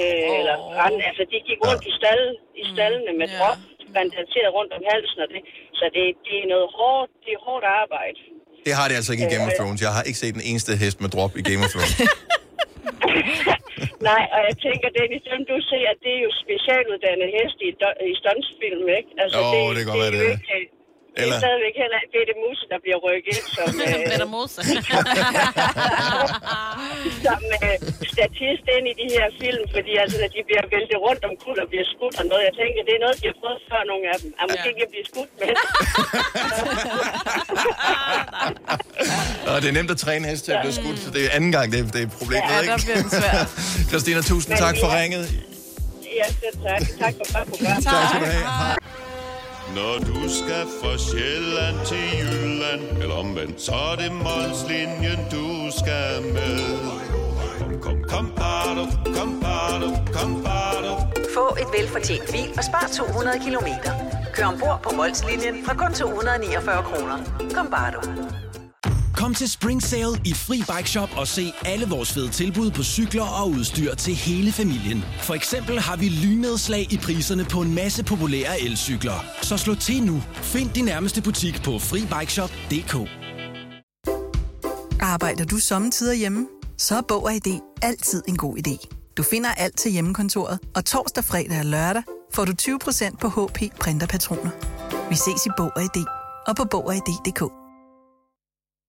S16: Øh, eller rende, altså de gik rundt i, stall, i stallene med drop, bandageret rundt om halsen og det. Så det, det er noget hårdt, det er hårdt arbejde.
S1: Det har det altså ikke i Game of Thrones. Jeg har ikke set den eneste hest med drop i Game of Thrones.
S16: Nej, og jeg tænker, Dennis, dem du ser, at det er jo specialuddannede heste i, do- i stuntsfilm, ikke?
S14: Altså,
S1: Jo, det kan godt være,
S16: jo
S1: det er.
S16: ikke, øh,
S14: Det er
S1: Eller-
S14: stadigvæk heller ikke det muse, der bliver rykket, som, øh,
S3: Peter Mose.
S14: som øh, statist ind i de her film, fordi altså, når de bliver væltet rundt om kul og bliver skudt og noget, jeg tænker, det er noget, de har prøvet før nogle af dem. Jeg måske ikke at blive skudt med.
S1: Og det er nemt at træne hest til at blive skudt, så det er anden gang, det er, det er problemet,
S14: Ja,
S1: ikke?
S14: der bliver den svær.
S1: Christina, tusind
S14: Men
S1: tak
S14: vi
S1: for
S14: er-
S1: ringet.
S14: ja, selv tak. Tak for godt program.
S1: Tak skal du have.
S17: Når du skal fra Sjælland til Jylland Eller omvendt, så er det Molslinjen, du skal med Kom, kom, kom, bado, kom, bado, kom, bado.
S5: Få et velfortjent bil og spar 200 kilometer. Kør ombord på Molslinjen fra kun 249 kroner. Kom bare du.
S18: Kom til Spring Sale i Fri Bike Shop og se alle vores fede tilbud på cykler og udstyr til hele familien. For eksempel har vi lynedslag i priserne på en masse populære elcykler. Så slå til nu. Find din nærmeste butik på FriBikeShop.dk.
S19: Arbejder du sommetider hjemme? Så er Bog og ID altid en god idé. Du finder alt til hjemmekontoret, og torsdag, fredag og lørdag får du 20% på HP printerpatroner. Vi ses i Bog og ID og på Bog og ID.dk.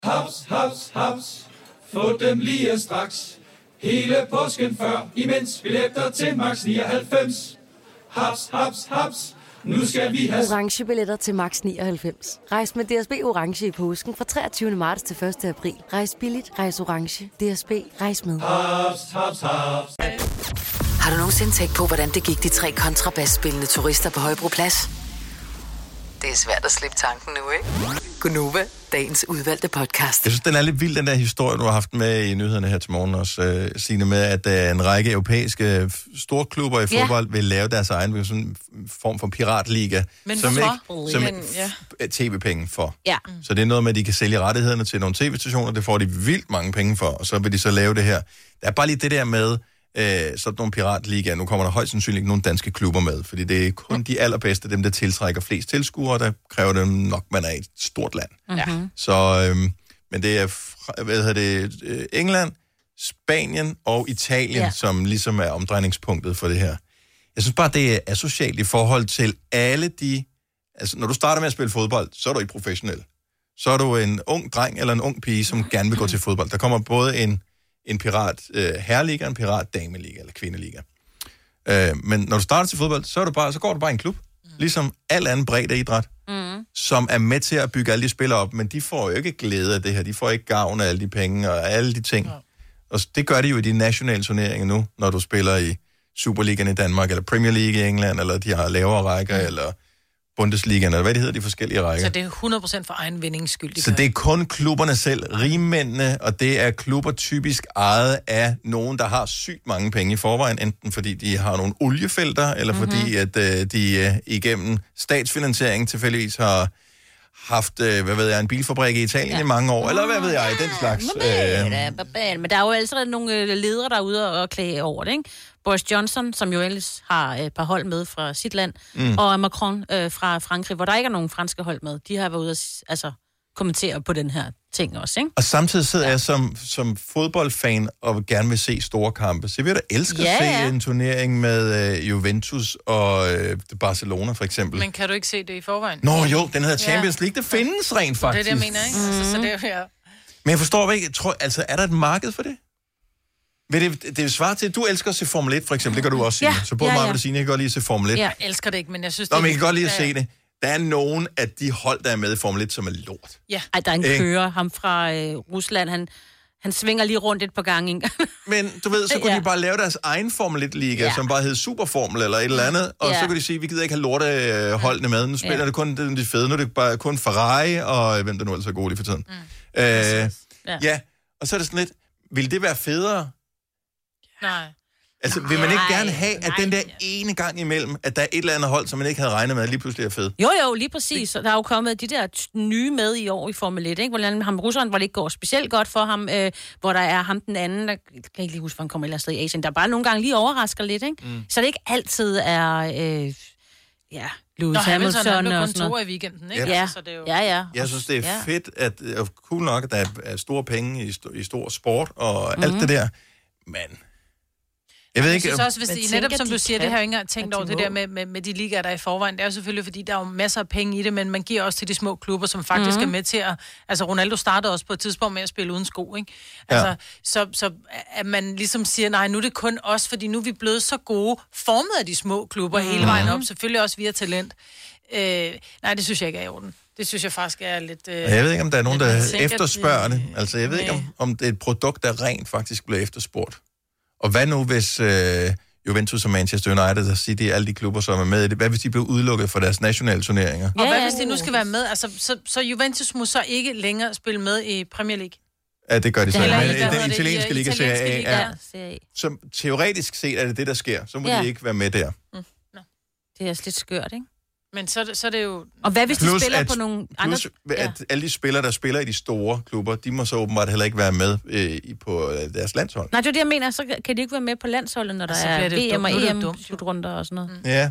S20: Haps, haps, haps. Få dem lige straks. Hele påsken før, imens vi læfter til max 99. Haps, haps, haps. Nu skal vi have...
S21: orange billetter til max 99. Rejs med DSB orange i påsken fra 23. marts til 1. april. Rejs billigt, rejs orange. DSB rejs med.
S20: Haps, haps, haps.
S5: Har du nogensinde tænkt på, hvordan det gik de tre kontrabasspillende turister på Højbroplads? Det er svært at slippe tanken nu, ikke? Gunova, dagens udvalgte podcast.
S1: Jeg synes, den er lidt vild, den der historie, du har haft med i nyhederne her til morgen også, øh, Signe, med at øh, en række europæiske øh, f- storklubber i
S2: Ja.
S1: fodbold vil lave deres egen sådan, en form for piratliga,
S2: Men
S1: som
S2: hvorfor?
S1: ikke som
S2: Men, ja.
S1: f- øh, tv-penge for.
S3: Ja.
S1: Så det er noget med, at de kan sælge rettighederne til nogle tv-stationer, det får de vildt mange penge for, og så vil de så lave det her. Der er bare lige det der med øh, sådan nogle piratligaer. Nu kommer der højst sandsynligt ikke nogen danske klubber med, fordi det er kun de allerbedste, dem der tiltrækker flest tilskuere, der kræver dem nok, man er i et stort land.
S22: Mm-hmm.
S1: Så, øhm, men det er fra, hvad hedder det, øh, England, Spanien og Italien,
S22: Ja.
S1: ja. som ligesom er omdrejningspunktet for det her. Jeg synes bare, det er asocialt i forhold til alle de... Altså, når du starter med at spille fodbold, så er du ikke professionel. Så er du en ung dreng eller en ung pige, som gerne vil gå til fodbold. Der kommer både en, en pirat øh, herreliga, og en pirat dameliga eller kvindeliga. Øh, men når du starter til fodbold, så, er du bare, så går du bare i en klub. Ligesom al anden bredde idræt
S22: Mm.
S2: Mm-hmm.
S1: som er med til at bygge alle de spillere op, men de får jo ikke glæde af det her. De får ikke gavn af alle de penge og alle de ting. Og s- det gør de jo i de nationale turneringer nu, når du spiller i Superligaen i Danmark, eller Premier League i England, eller de har lavere rækker, eller Bundesligaen, eller hvad det hedder, de forskellige rækker.
S2: Så det er 100% for egen vindings skyld, de
S1: Så
S2: gør.
S1: det er kun klubberne selv, rigmændene, og det er klubber typisk ejet af nogen, der har sygt mange penge i forvejen, enten fordi de har nogle oliefelter, eller mm-hmm. fordi at øh, de øh, igennem statsfinansiering tilfældigvis har haft, øh, hvad ved jeg, en bilfabrik i Italien ja. Ah, i mange år, eller hvad ved jeg, den slags. Øh,
S3: Babel. Men der er jo altså nogle øh, ledere, der er ude og klage over det, ikke? Boris Johnson, som jo ellers har øh, et par hold med fra sit land, mm.
S2: Mm.
S3: og Macron øh, fra Frankrig, hvor der ikke er nogen franske hold med. De har været ude og s- altså, kommentere på den her ting også, ikke?
S1: og samtidig sidder jeg som, som fodboldfan og gerne vil se store kampe. Så jeg vil da elske
S2: Ja,
S1: at se
S2: ja.
S1: en turnering med øh, Juventus og øh, Barcelona for eksempel.
S2: Men kan du ikke se det i forvejen?
S1: Nå jo, den hedder Champions League. Det findes rent
S2: Det er
S1: faktisk.
S2: det, jeg mener, ikke? Mm. Altså, så det er, ja.
S1: Men jeg forstår ikke, tror, altså, er der et marked for det? Vil det, det svarer til, at du elsker at se Formel 1, for eksempel. Det gør du også, Signe.
S2: Ja,
S1: Så både
S2: ja,
S1: mig
S2: ja.
S1: og Signe, jeg kan godt lide at se Formel 1.
S2: Jeg elsker det ikke, men jeg synes,
S1: Nå,
S2: det
S1: men jeg kan godt lide at
S2: Ja,
S1: se det. Der er nogen af de hold, der er med i Formel 1, som er lort.
S2: Ja.
S3: Ej, der er en
S1: Ikke?
S3: kører, ham fra øh, Rusland, han, han svinger lige rundt et par gange. ikke?
S1: Men du ved, så kunne ja. de bare lave deres egen Formel 1-liga,
S3: Ja.
S1: ja. som bare hed Superformel eller et eller andet. Og
S3: Ja.
S1: så kunne de sige, vi gider ikke have lorte øh, holdene med. Nu spiller
S3: Ja.
S1: ja. det kun det, er de fede. Nu er det bare kun Ferrari og øh, hvem der nu ellers er god lige for tiden. Mm. Øh,
S2: Ja.
S1: ja. ja, og så er det sådan lidt, vil det være federe,
S2: Nej.
S1: Altså, vil man ikke
S3: Nej,
S1: gerne have, at den der ene gang imellem, at der er et eller andet hold, som man ikke havde regnet med, lige pludselig er fed?
S3: Jo, jo, lige præcis. Og der er jo kommet de der t- nye med i år i Formel 1, ikke? Hvordan ham russeren, hvor det ikke går specielt godt for ham, øh, hvor der er ham den anden, der jeg kan ikke lige huske, hvor han kommer et eller andet sted i Asien, der bare nogle gange lige overrasker lidt, ikke? Mm.
S2: Mm.
S3: Så det ikke altid er, øh, ja, Lewis
S2: Nå,
S3: Hamilton,
S2: Hamilton, han blev
S3: og
S2: kun
S3: sådan noget.
S2: to i weekenden, ikke?
S1: Ja.
S3: Ja,
S2: Altså, Så det er jo...
S3: ja, ja.
S1: Jeg synes, det er
S3: Ja.
S1: fedt, at, øh, og cool nok, at der er- er store penge i, sto- i stor sport og
S2: Mhm.
S1: alt det der. Men Jeg ved
S2: Jeg
S1: ikke, øh,
S2: synes også, hvis
S1: Men
S2: det,
S1: tænker,
S2: netop som
S1: de
S2: du siger,
S1: kan,
S2: det har jeg ikke engang
S1: at
S2: tænkt
S1: de
S2: over, det
S1: må.
S2: der med, med, med de ligaer, der er i forvejen. Det er jo selvfølgelig, fordi der er jo masser af penge i det, men man giver også til de små klubber, som faktisk
S3: Mhm.
S2: mm-hmm. er med til at... Altså, Ronaldo startede også på et tidspunkt med at spille uden sko, ikke? Altså,
S3: Ja.
S2: ja. så, så at man ligesom siger, nej, nu er det kun os, fordi nu er vi blevet så gode, formet af de små klubber
S1: Mhm.
S2: mm-hmm. hele vejen op, selvfølgelig også via talent. Øh, nej, det synes jeg ikke er i orden. Det synes jeg faktisk er lidt... Øh,
S1: Og Jeg ved ikke, om der er nogen,
S2: lidt
S1: der
S2: sikkert,
S1: efterspørger
S2: øh,
S1: det. Altså, jeg ved ikke, om, om det er et produkt, der rent faktisk bliver efterspurgt. Og hvad nu, hvis øh, Juventus og Manchester United og City, alle de klubber, som er med i det, hvad hvis de bliver udelukket fra deres nationale turneringer?
S2: Og hvad hvis de nu skal være med? Altså, så, så Juventus må så ikke længere spille med i Premier League.
S1: Ja, det gør de så.
S2: Eller
S1: Men
S2: i-
S1: i
S2: hvad hedder
S1: den
S2: det?
S1: italienske
S2: I-
S1: liga
S2: italienske
S1: Serie
S2: liga,
S1: A
S2: ja.
S1: er... Som teoretisk set er det det, der sker. Så må
S2: Ja.
S1: de ikke være med der.
S3: Det er også lidt skørt, ikke?
S2: Men så, er det- så er det jo...
S3: Og hvad hvis de spiller på nogle andre...
S1: plus, at alle de spillere, der spiller i de store klubber, de må så åbenbart heller ikke være med øh, i- på øh, deres landshold.
S3: Nej, det er det, jeg mener. Så kan de ikke være med på landsholdet, når der
S2: så
S3: er
S2: Altså, bliver det
S3: VM og
S2: dumt. Nu er det jo
S3: EM-slutrunder og sådan noget. Mm.
S1: Ja.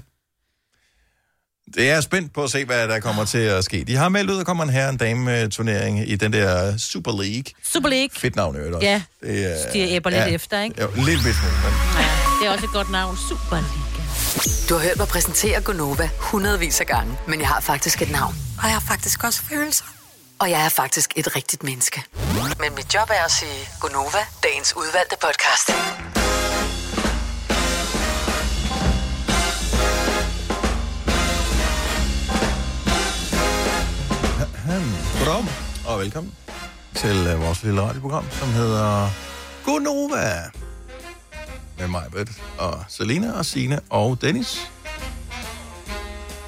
S1: Det er spændt på at se, hvad der kommer til at ske. De har meldt ud, at der kommer en herre- og en dame-turnering i den der Super League.
S3: Super League.
S1: Fedt navn, i øvrigt også.
S3: Ja.
S1: Det er,
S3: De æbber lidt efter, ikke?
S1: Jo, en lille bit smule. men-
S3: Det er også et godt navn. Super League.
S5: Du har hørt mig præsentere Gonova hundredvis af gange, men jeg har faktisk et navn.
S6: Og jeg har faktisk også følelser.
S5: Og jeg er faktisk et rigtigt menneske. Men mit job er at sige Gonova, dagens udvalgte podcast.
S1: Goddag, og velkommen til øh, vores lille radioprogram, som hedder Gonova. Med mig, Britt, og Selina, og Sine og Dennis.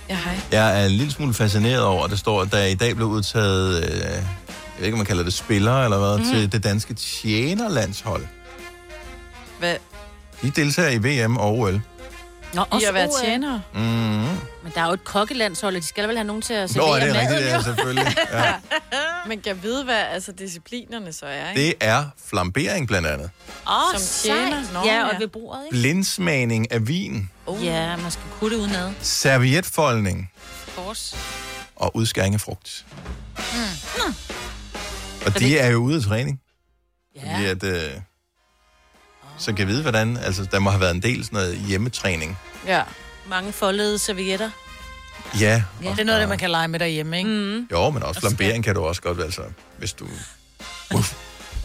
S4: Ja, hej.
S1: Jeg er en lille smule fascineret over, at der står, at der i dag blev udtaget, øh, jeg ved ikke, om man kalder det spillere eller
S3: Mhm.
S1: hvad, mm. til det danske tjenerlandshold.
S4: Hvad?
S1: De deltager i VM og OL.
S3: Nå,
S4: I at være
S2: øh,
S3: OL.
S4: tjenere.
S1: Mm.
S3: Men der er jo et kokkelandshold, og de skal vel have nogen til at
S1: Nå,
S3: servere
S1: er det
S3: maden, jo.
S1: rigtigt? Ja, selvfølgelig. Ja.
S4: Men kan jeg vide, hvad altså, disciplinerne så er, ikke?
S1: Det er flambering blandt andet.
S3: Åh,
S4: Som
S3: sejt.
S4: tjener. Nå,
S3: ja,
S4: ja.
S3: og ved bordet, ikke?
S1: Blindsmagning af vin,
S2: Oh.
S3: Uh. Ja, man skal kunne det udenad.
S1: servietfoldning
S3: Force.
S1: og udskæring af frugt.
S3: Mm.
S1: Og de er jo ude af træning.
S3: Ja.
S1: Fordi at, øh, så kan jeg vide, hvordan... Altså, der må have været en del sådan noget hjemmetræning.
S4: Ja.
S3: Mange foldede servietter.
S1: Ja,
S2: Ja. Det er noget af det, man kan lege med derhjemme, ikke?
S3: Mm.
S1: jo, men også flambering kan du også godt, altså, hvis du...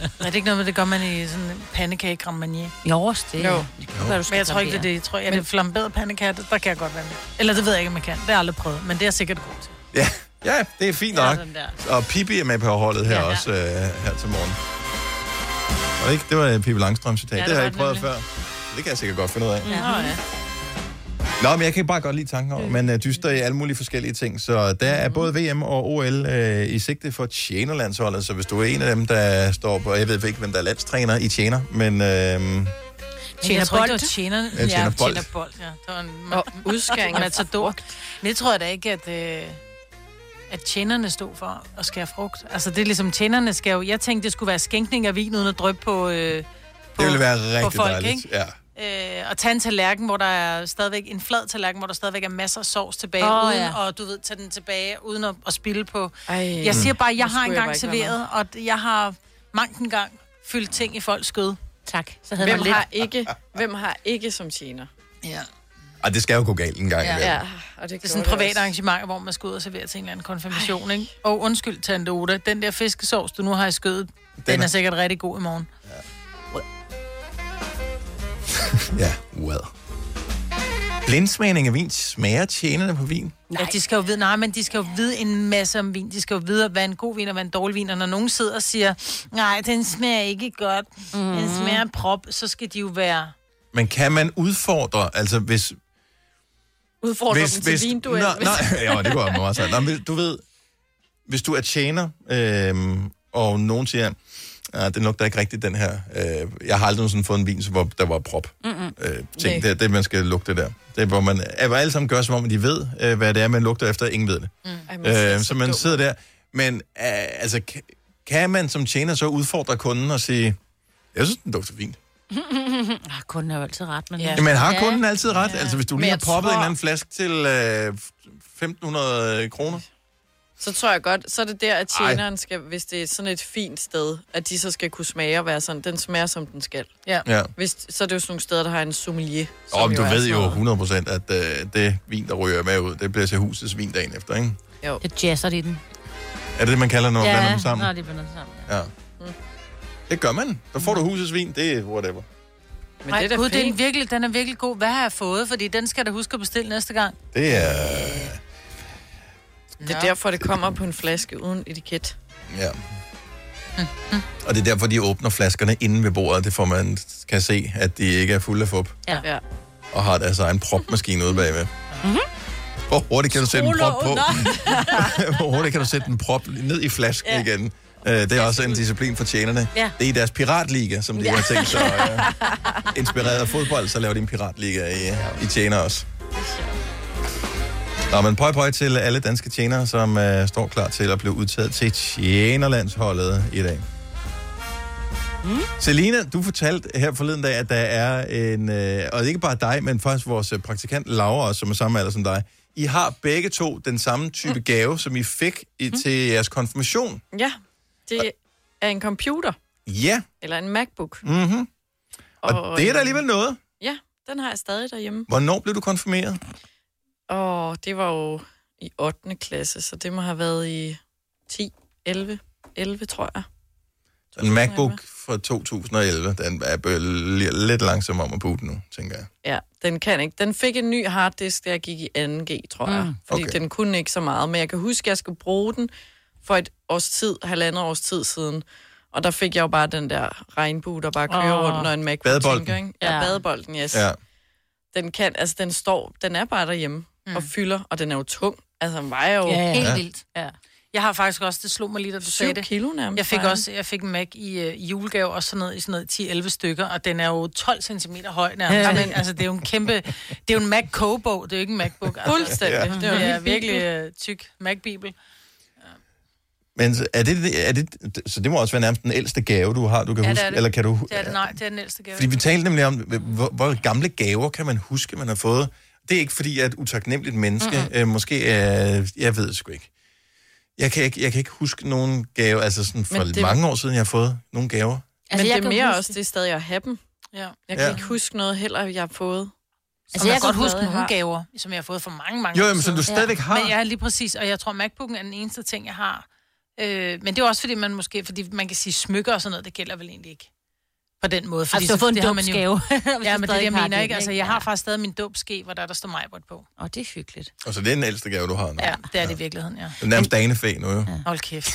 S2: Er det ikke noget med, det gør man i sådan en pandekage creme marnier?
S3: Jo, også det.
S2: Jo.
S3: Hvad du
S2: Men
S3: skal
S2: jeg tror ikke, det er
S3: flambere.
S2: det. Jeg tror, at det er flamberet pandekage, der kan jeg godt være med. Eller det ved jeg ikke, om jeg kan. Det har jeg aldrig prøvet, men det er jeg sikkert god til.
S1: Ja, ja det er fint
S2: Ja,
S1: nok.
S2: den
S1: Og Pippi er med på holdet her ja, ja. også, øh, her til morgen. Og ikke? Det var øh, Pippi Langstrøm citat.
S2: Ja, det
S1: Ja, det, det har
S2: var
S1: jeg ikke prøvet før. Det kan jeg sikkert godt finde ud af. Nå, men jeg kan bare godt lide tanken
S2: Mm.
S1: over, man øh, dyster i alle mulige forskellige ting. Så der er både VM og OL øh, i sigte for tjenerlandsholdet. Så hvis du er en af dem, der står på... Jeg ved ikke, hvem der er landstræner i tjener, men... Øh,
S2: Men jeg tror ikke, det var
S3: Tjenerbold.
S2: tjenerne.
S1: Ja, tjenerbold.
S2: tjenerbold, ja. Det var en
S4: Og udskæring af
S2: matador. Men det tror jeg da ikke, at, øh, at tjenerne stod for at skære frugt. Altså, det er ligesom tjenerne skal jo... Jeg tænkte, det skulle være skænkning af vin uden at dryppe på... Øh,
S1: det ville være
S2: på
S1: rigtig
S2: folk,
S1: dejligt.
S2: ikke?
S1: Ja.
S2: Øh, og tage en tallerken, hvor der er stadigvæk en flad tallerken, hvor der stadigvæk er masser af sovs tilbage,
S3: Åh,
S2: oh, uden,
S3: ja.
S2: ja. og du ved, tage den tilbage, uden at, at spille på.
S4: Ej,
S2: jeg siger bare,
S4: Mm.
S2: jeg
S4: Nu
S2: har engang
S4: skulle jeg bare ikke være
S2: serveret, og d- jeg har manken gang fyldt ting i folks skød.
S3: Tak. Så
S4: Hvem har, ikke, hvem har ikke som tjener?
S2: Ja.
S1: Og det skal jo gå galt en gang
S2: Ja.
S1: imellem.
S2: Ja.
S4: Og det,
S2: Det er sådan et
S4: gjorde det
S2: privat
S4: også.
S2: arrangement, hvor man skal ud og servere til en eller anden konfirmation, ikke? Og undskyld, Tante Oda, den der fiskesovs, du nu har i skødet, den, den er...
S1: er-
S2: er sikkert rigtig god i morgen.
S1: Ja, well. Blindsmagning af vin. Smager tjenerne på vin?
S2: Ja, de skal jo vide, nej, men de skal jo vide en masse om vin. De skal jo vide, hvad er en god vin og hvad er en dårlig vin. Og når nogen sidder og siger, nej, den smager ikke godt, mm.
S4: Mhm.
S2: den smager prop, så skal de jo være...
S1: Men kan man udfordre, altså hvis...
S4: Udfordrer
S1: hvis,
S4: dem til vinduel.
S1: Nå, nej, ja, det går jeg meget sagt. Nå, men du ved, hvis du er tjener, øh, og nogen siger, ah, den lugter ikke rigtigt, den her. Øh, jeg har aldrig sådan fået en vin, hvor der var prop.
S22: Mm-mm.
S1: Øh, ting, det er det, man skal lugte der. Det er, hvor man, at hvor alle sammen gør, som om de ved, øh, hvad det er, man lugter efter, ingen ved det.
S4: Mm.
S1: Øh, så man sidder der. Men øh, altså, ka- kan man som tjener så udfordre kunden og sige, jeg synes, den dufter fint.
S3: ah, kunden er jo altid ret, men...
S1: Ja. Jamen, har kunden altid ret? Ja. Altså, hvis du
S3: Men
S1: lige har
S3: jeg
S1: proppet tror...
S3: tror-
S1: en eller anden flaske til øh, 1.500 kroner,
S4: Så tror jeg godt, så er det der, at
S1: Ej.
S4: tjeneren skal, hvis det er sådan et fint sted, at de så skal kunne smage og være sådan, den smager som den skal.
S1: Ja.
S4: Hvis, så er det jo sådan nogle steder, der har en sommelier. som
S1: Og du
S4: er
S1: ved
S4: sådan
S1: jo
S4: noget.
S1: 100% at øh, det vin, der ryger med ud, det bliver til husets vin dagen efter, ikke?
S4: Jo.
S3: Det jazzer det i den.
S1: Er det det, man kalder, når man blander
S3: ja,
S1: dem sammen?
S3: Nå, det blander dem sammen.
S1: Ja. Det gør man. Der får du husets vin, det er whatever.
S2: Men det er Gud, det er en virkelig, den er virkelig god. Hvad har jeg fået? Fordi den skal jeg da huske at bestille næste gang.
S1: Det er...
S4: Det er derfor, det kommer på en flaske uden etiket.
S1: Ja. Og det er derfor, de åbner flaskerne inde ved bordet. Det får man kan se, at de ikke er fulde af fup.
S3: Ja.
S4: ja.
S1: Og har deres egen propmaskine ude bagved.
S3: Mhm.
S1: Hvor hurtigt kan du sætte en prop på?
S3: Nå.
S1: Hvor hurtigt kan du sætte en prop ned i flasken ja. igen? Øh, Det er også en disciplin for tjenerne.
S3: Ja.
S1: Det er i deres piratliga, som de
S3: Ja.
S1: ja. har tænkt sig. øh, Inspireret af fodbold, så laver de en piratliga i, i tjener også. Nå, men pøj pøj til alle danske tjenere, som øh, står klar til at blive udtaget til tjenerlandsholdet i dag. Mm. Selina, du fortalte her forleden dag, at der er en, øh, og ikke bare dig, men faktisk vores øh, praktikant Laura, også, som er samme alder som dig. I har begge to den samme type mm. gave, som I fik i, mm. til jeres konfirmation.
S4: Ja, det er en computer,
S1: Ja.
S4: eller en MacBook.
S1: Mm-hmm. Og,
S4: Og,
S1: og det er
S4: øh,
S1: da alligevel noget.
S4: Ja, den har jeg stadig derhjemme.
S1: Hvornår blev du konfirmeret?
S4: Og det var jo i 8. klasse, så det må have været i 10, 11, 11 tror jeg.
S1: En MacBook fra 2011, den er bø- lidt langsom om at boote nu, tænker jeg.
S4: Ja, den kan ikke. Den fik en ny harddisk, da jeg gik i 2G, tror jeg.
S1: Mm.
S4: Fordi
S1: Okay.
S4: den kunne ikke så meget. Men jeg kan huske, at jeg skulle bruge den for et års tid, halvandet års tid siden. Og der fik jeg jo bare den der regnbue, der bare kører
S1: Åh.
S4: oh. rundt, når en MacBook
S1: Badebolden.
S4: tænker, ikke? Ja,
S1: Ja.
S4: ja, badebolden, yes.
S1: Ja.
S4: Den kan, altså den står, den er bare derhjemme mm. og fylder, og den er jo tung. Altså den vejer jo...
S2: Ja, ja. Helt
S4: Ja.
S2: vildt. Ja. Jeg har faktisk også, det slog mig lige, da du
S4: Syv
S2: sagde det.
S4: kilo nærmest,
S2: Jeg fik
S4: var jeg.
S2: også, jeg fik en Mac i øh, julegave og sådan noget, i sådan noget 10-11 stykker, og den er jo 12 cm høj nærmest.
S4: Ja.
S2: Ja. Men, altså, det er jo en kæmpe, det er jo en Mac kogebog, det er jo ikke en MacBook. Altså.
S4: Fuldstændig. Ja.
S2: Det er jo ja, virkelig øh, tyk Mac-bibel.
S1: Men så er det, er det, så det må også være nærmest den ældste gave, du har, du kan
S2: Ja, det
S1: huske?
S2: er det.
S1: Eller kan du,
S2: Det er, det- nej, det er den ældste gave.
S1: Fordi vi talte nemlig om, hvor, hvor gamle gaver kan man huske, man har fået. Det er ikke fordi, jeg er et utaknemmeligt menneske. Mm-hmm. Øh, måske er... Jeg ved det sgu ikke. Jeg kan ikke, jeg kan ikke huske nogen gave, altså sådan for
S4: Men det-
S1: det... mange år siden, jeg har fået nogle gaver.
S4: Altså, Men
S3: jeg
S4: det er
S3: kan
S4: mere
S3: huske-
S4: også det er stadig at have dem.
S2: Ja. Jeg
S4: kan
S1: Ja.
S4: ja. ikke huske noget heller, jeg har fået.
S2: Altså, jeg, jeg kan godt huske nogle gaver, som jeg har fået for mange, mange
S4: Jo,
S2: år
S4: jamen,
S2: siden.
S4: som du stadigvæk har.
S2: Men jeg er lige præcis, og jeg tror, MacBook'en er den eneste ting, jeg har. Øh, men det er også fordi, man måske, fordi man kan sige smykker og sådan noget, det gælder vel egentlig ikke. På den måde. Fordi
S3: Altså, du har
S2: så-
S3: fået en
S2: det man jo-
S3: dåbsgave, hvis du
S2: ja, men det er det,
S3: stadig
S2: jeg
S3: har
S2: mener,
S3: den,
S2: ikke? Altså,
S3: ikke?
S2: jeg
S3: Ja.
S2: har faktisk stadig min dåbske, hvor der, der står Majbert på.
S3: Åh, det er hyggeligt.
S1: Og så Altså, det er den ældste gave, du har nu.
S2: Ja, det er det i virkeligheden, ja.
S1: Det er nærmest danefæ nu, jo. Ja.
S2: Hold kæft.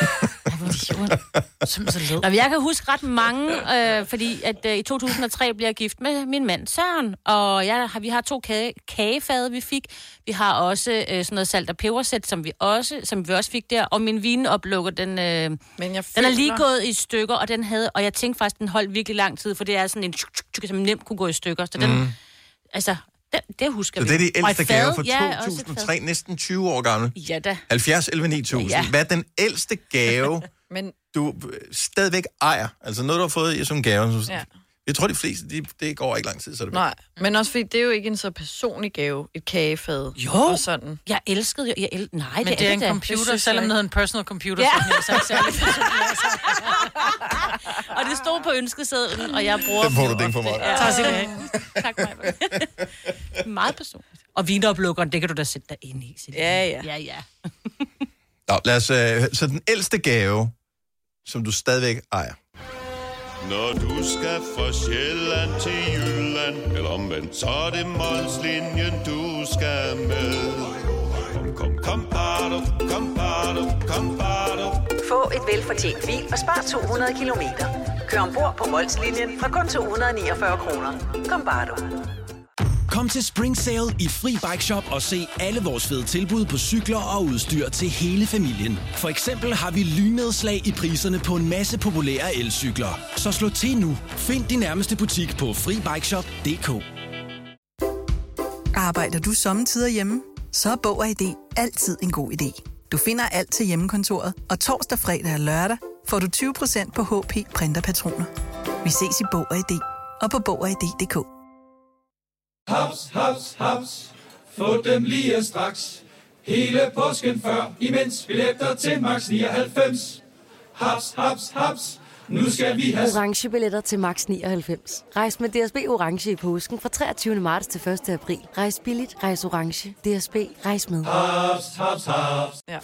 S3: Nå, men jeg kan huske ret mange, øh, fordi at øh, i 2003 blev jeg gift med min mand Søren, og jeg har, vi har to kage, kagefade, vi fik. Vi har også øh, sådan noget salt og pebersæt, som vi også, som vi også fik der, og min vinoplukker, den, øh, den
S4: Men jeg
S3: er
S4: føler-
S3: lige gået i stykker, og den havde, og jeg tænkte faktisk, den holdt virkelig lang tid, for det er sådan en, tjuk, tjuk, tjuk, som nemt kunne gå i stykker, så den,
S1: Mm.
S3: mm. altså, den, det husker
S1: Så
S3: vi.
S1: det er de
S3: Og et
S1: ældste
S3: fad,
S1: gaver
S3: ja,
S1: fra
S3: også et fad.
S1: 2003, næsten 20 år gammel.
S3: Ja da.
S1: 70, 11, 9000.
S3: Ja.
S1: Ja. Hvad er den ældste gave,
S4: Men
S1: du øh, stadigvæk ejer? Altså noget, du har fået i- som gave. Ja.
S4: Ja.
S1: Jeg tror, de fleste, de, det går ikke lang tid, så er det væk.
S4: Nej, men også fordi det er jo ikke en så personlig gave, et kagefad.
S3: Jo.
S4: Og sådan.
S3: Jeg elskede jo, jeg el... Nej,
S2: Men det er en computer, selvom det hedder en personal computer.
S3: Ja.
S2: Ja. Så er det så ikke særlig
S3: Og det stod på ønskesedlen, og jeg bruger...
S2: Den får du
S3: dem
S2: ding for
S3: ofte.
S2: mig.
S3: Ja.
S2: Tak skal du have.
S3: Tak, Maja. Meget personligt. Og vinoplukkeren, det kan du da sætte dig ind i. Ja, ja. Ja, ja.
S1: Nå, lad os, øh, så den ældste gave, som du stadigvæk ejer.
S17: Når du skal fra Sjælland til Jylland Eller omvendt, så er det Molslinjen, du skal med Kom, kom, kom, bado, kom, bado, kom, bado.
S8: Få et velfortjent bil og spar 200 kilometer. Kør ombord på Molslinjen fra kun 249 kroner. Kom bare du.
S18: Kom til Spring Sale i Fri Bike Shop og se alle vores fede tilbud på cykler og udstyr til hele familien. For eksempel har vi lynedslag i priserne på en masse populære elcykler. Så slå til nu. Find din nærmeste butik på FriBikeShop.dk
S19: Arbejder du sommetider hjemme? Så er Bog og ID altid en god idé. Du finder alt til hjemmekontoret, og torsdag, fredag og lørdag får du 20% på HP printerpatroner. Vi ses i Bog og ID og på Bog og ID.dk.
S20: Haps, haps, haps. Få dem lige straks. Hele påsken før, imens billetter til max 99. Haps, haps, haps. Nu skal vi have...
S21: orange billetter til max 99. Rejs med DSB orange i påsken fra 23. marts til 1. april. Rejs billigt, rejs orange. DSB rejs med.
S20: Ah. Haps, haps, haps.
S21: Ja.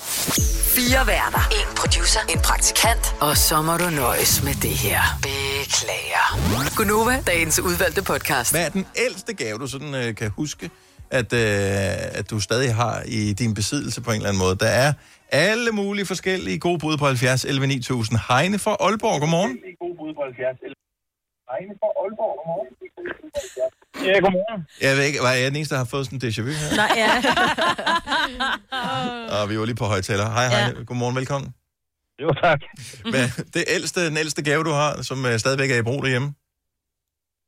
S5: Fire værter. En producer. En praktikant. Og så må du nøjes med det her. Beklager. Gunova, dagens udvalgte podcast.
S1: Hvad er den ældste gave, du sådan øh, kan huske, at, øh, at du stadig har i din besiddelse på en eller anden måde? Der er alle mulige forskellige gode bud på 70 11 9000. Heine fra Aalborg, godmorgen.
S11: God bud på 70. Regne for Aalborg. Godmorgen. Ja, godmorgen.
S1: Jeg ved ikke, var jeg den eneste, der har fået sådan en déjà vu her?
S3: Nej, ja.
S1: Og vi var lige på højtaler. Hej Heine, ja. godmorgen, velkommen. Jo, tak. Hvad, det ældste, den ældste gave, du har, som øh, stadigvæk er i brug derhjemme?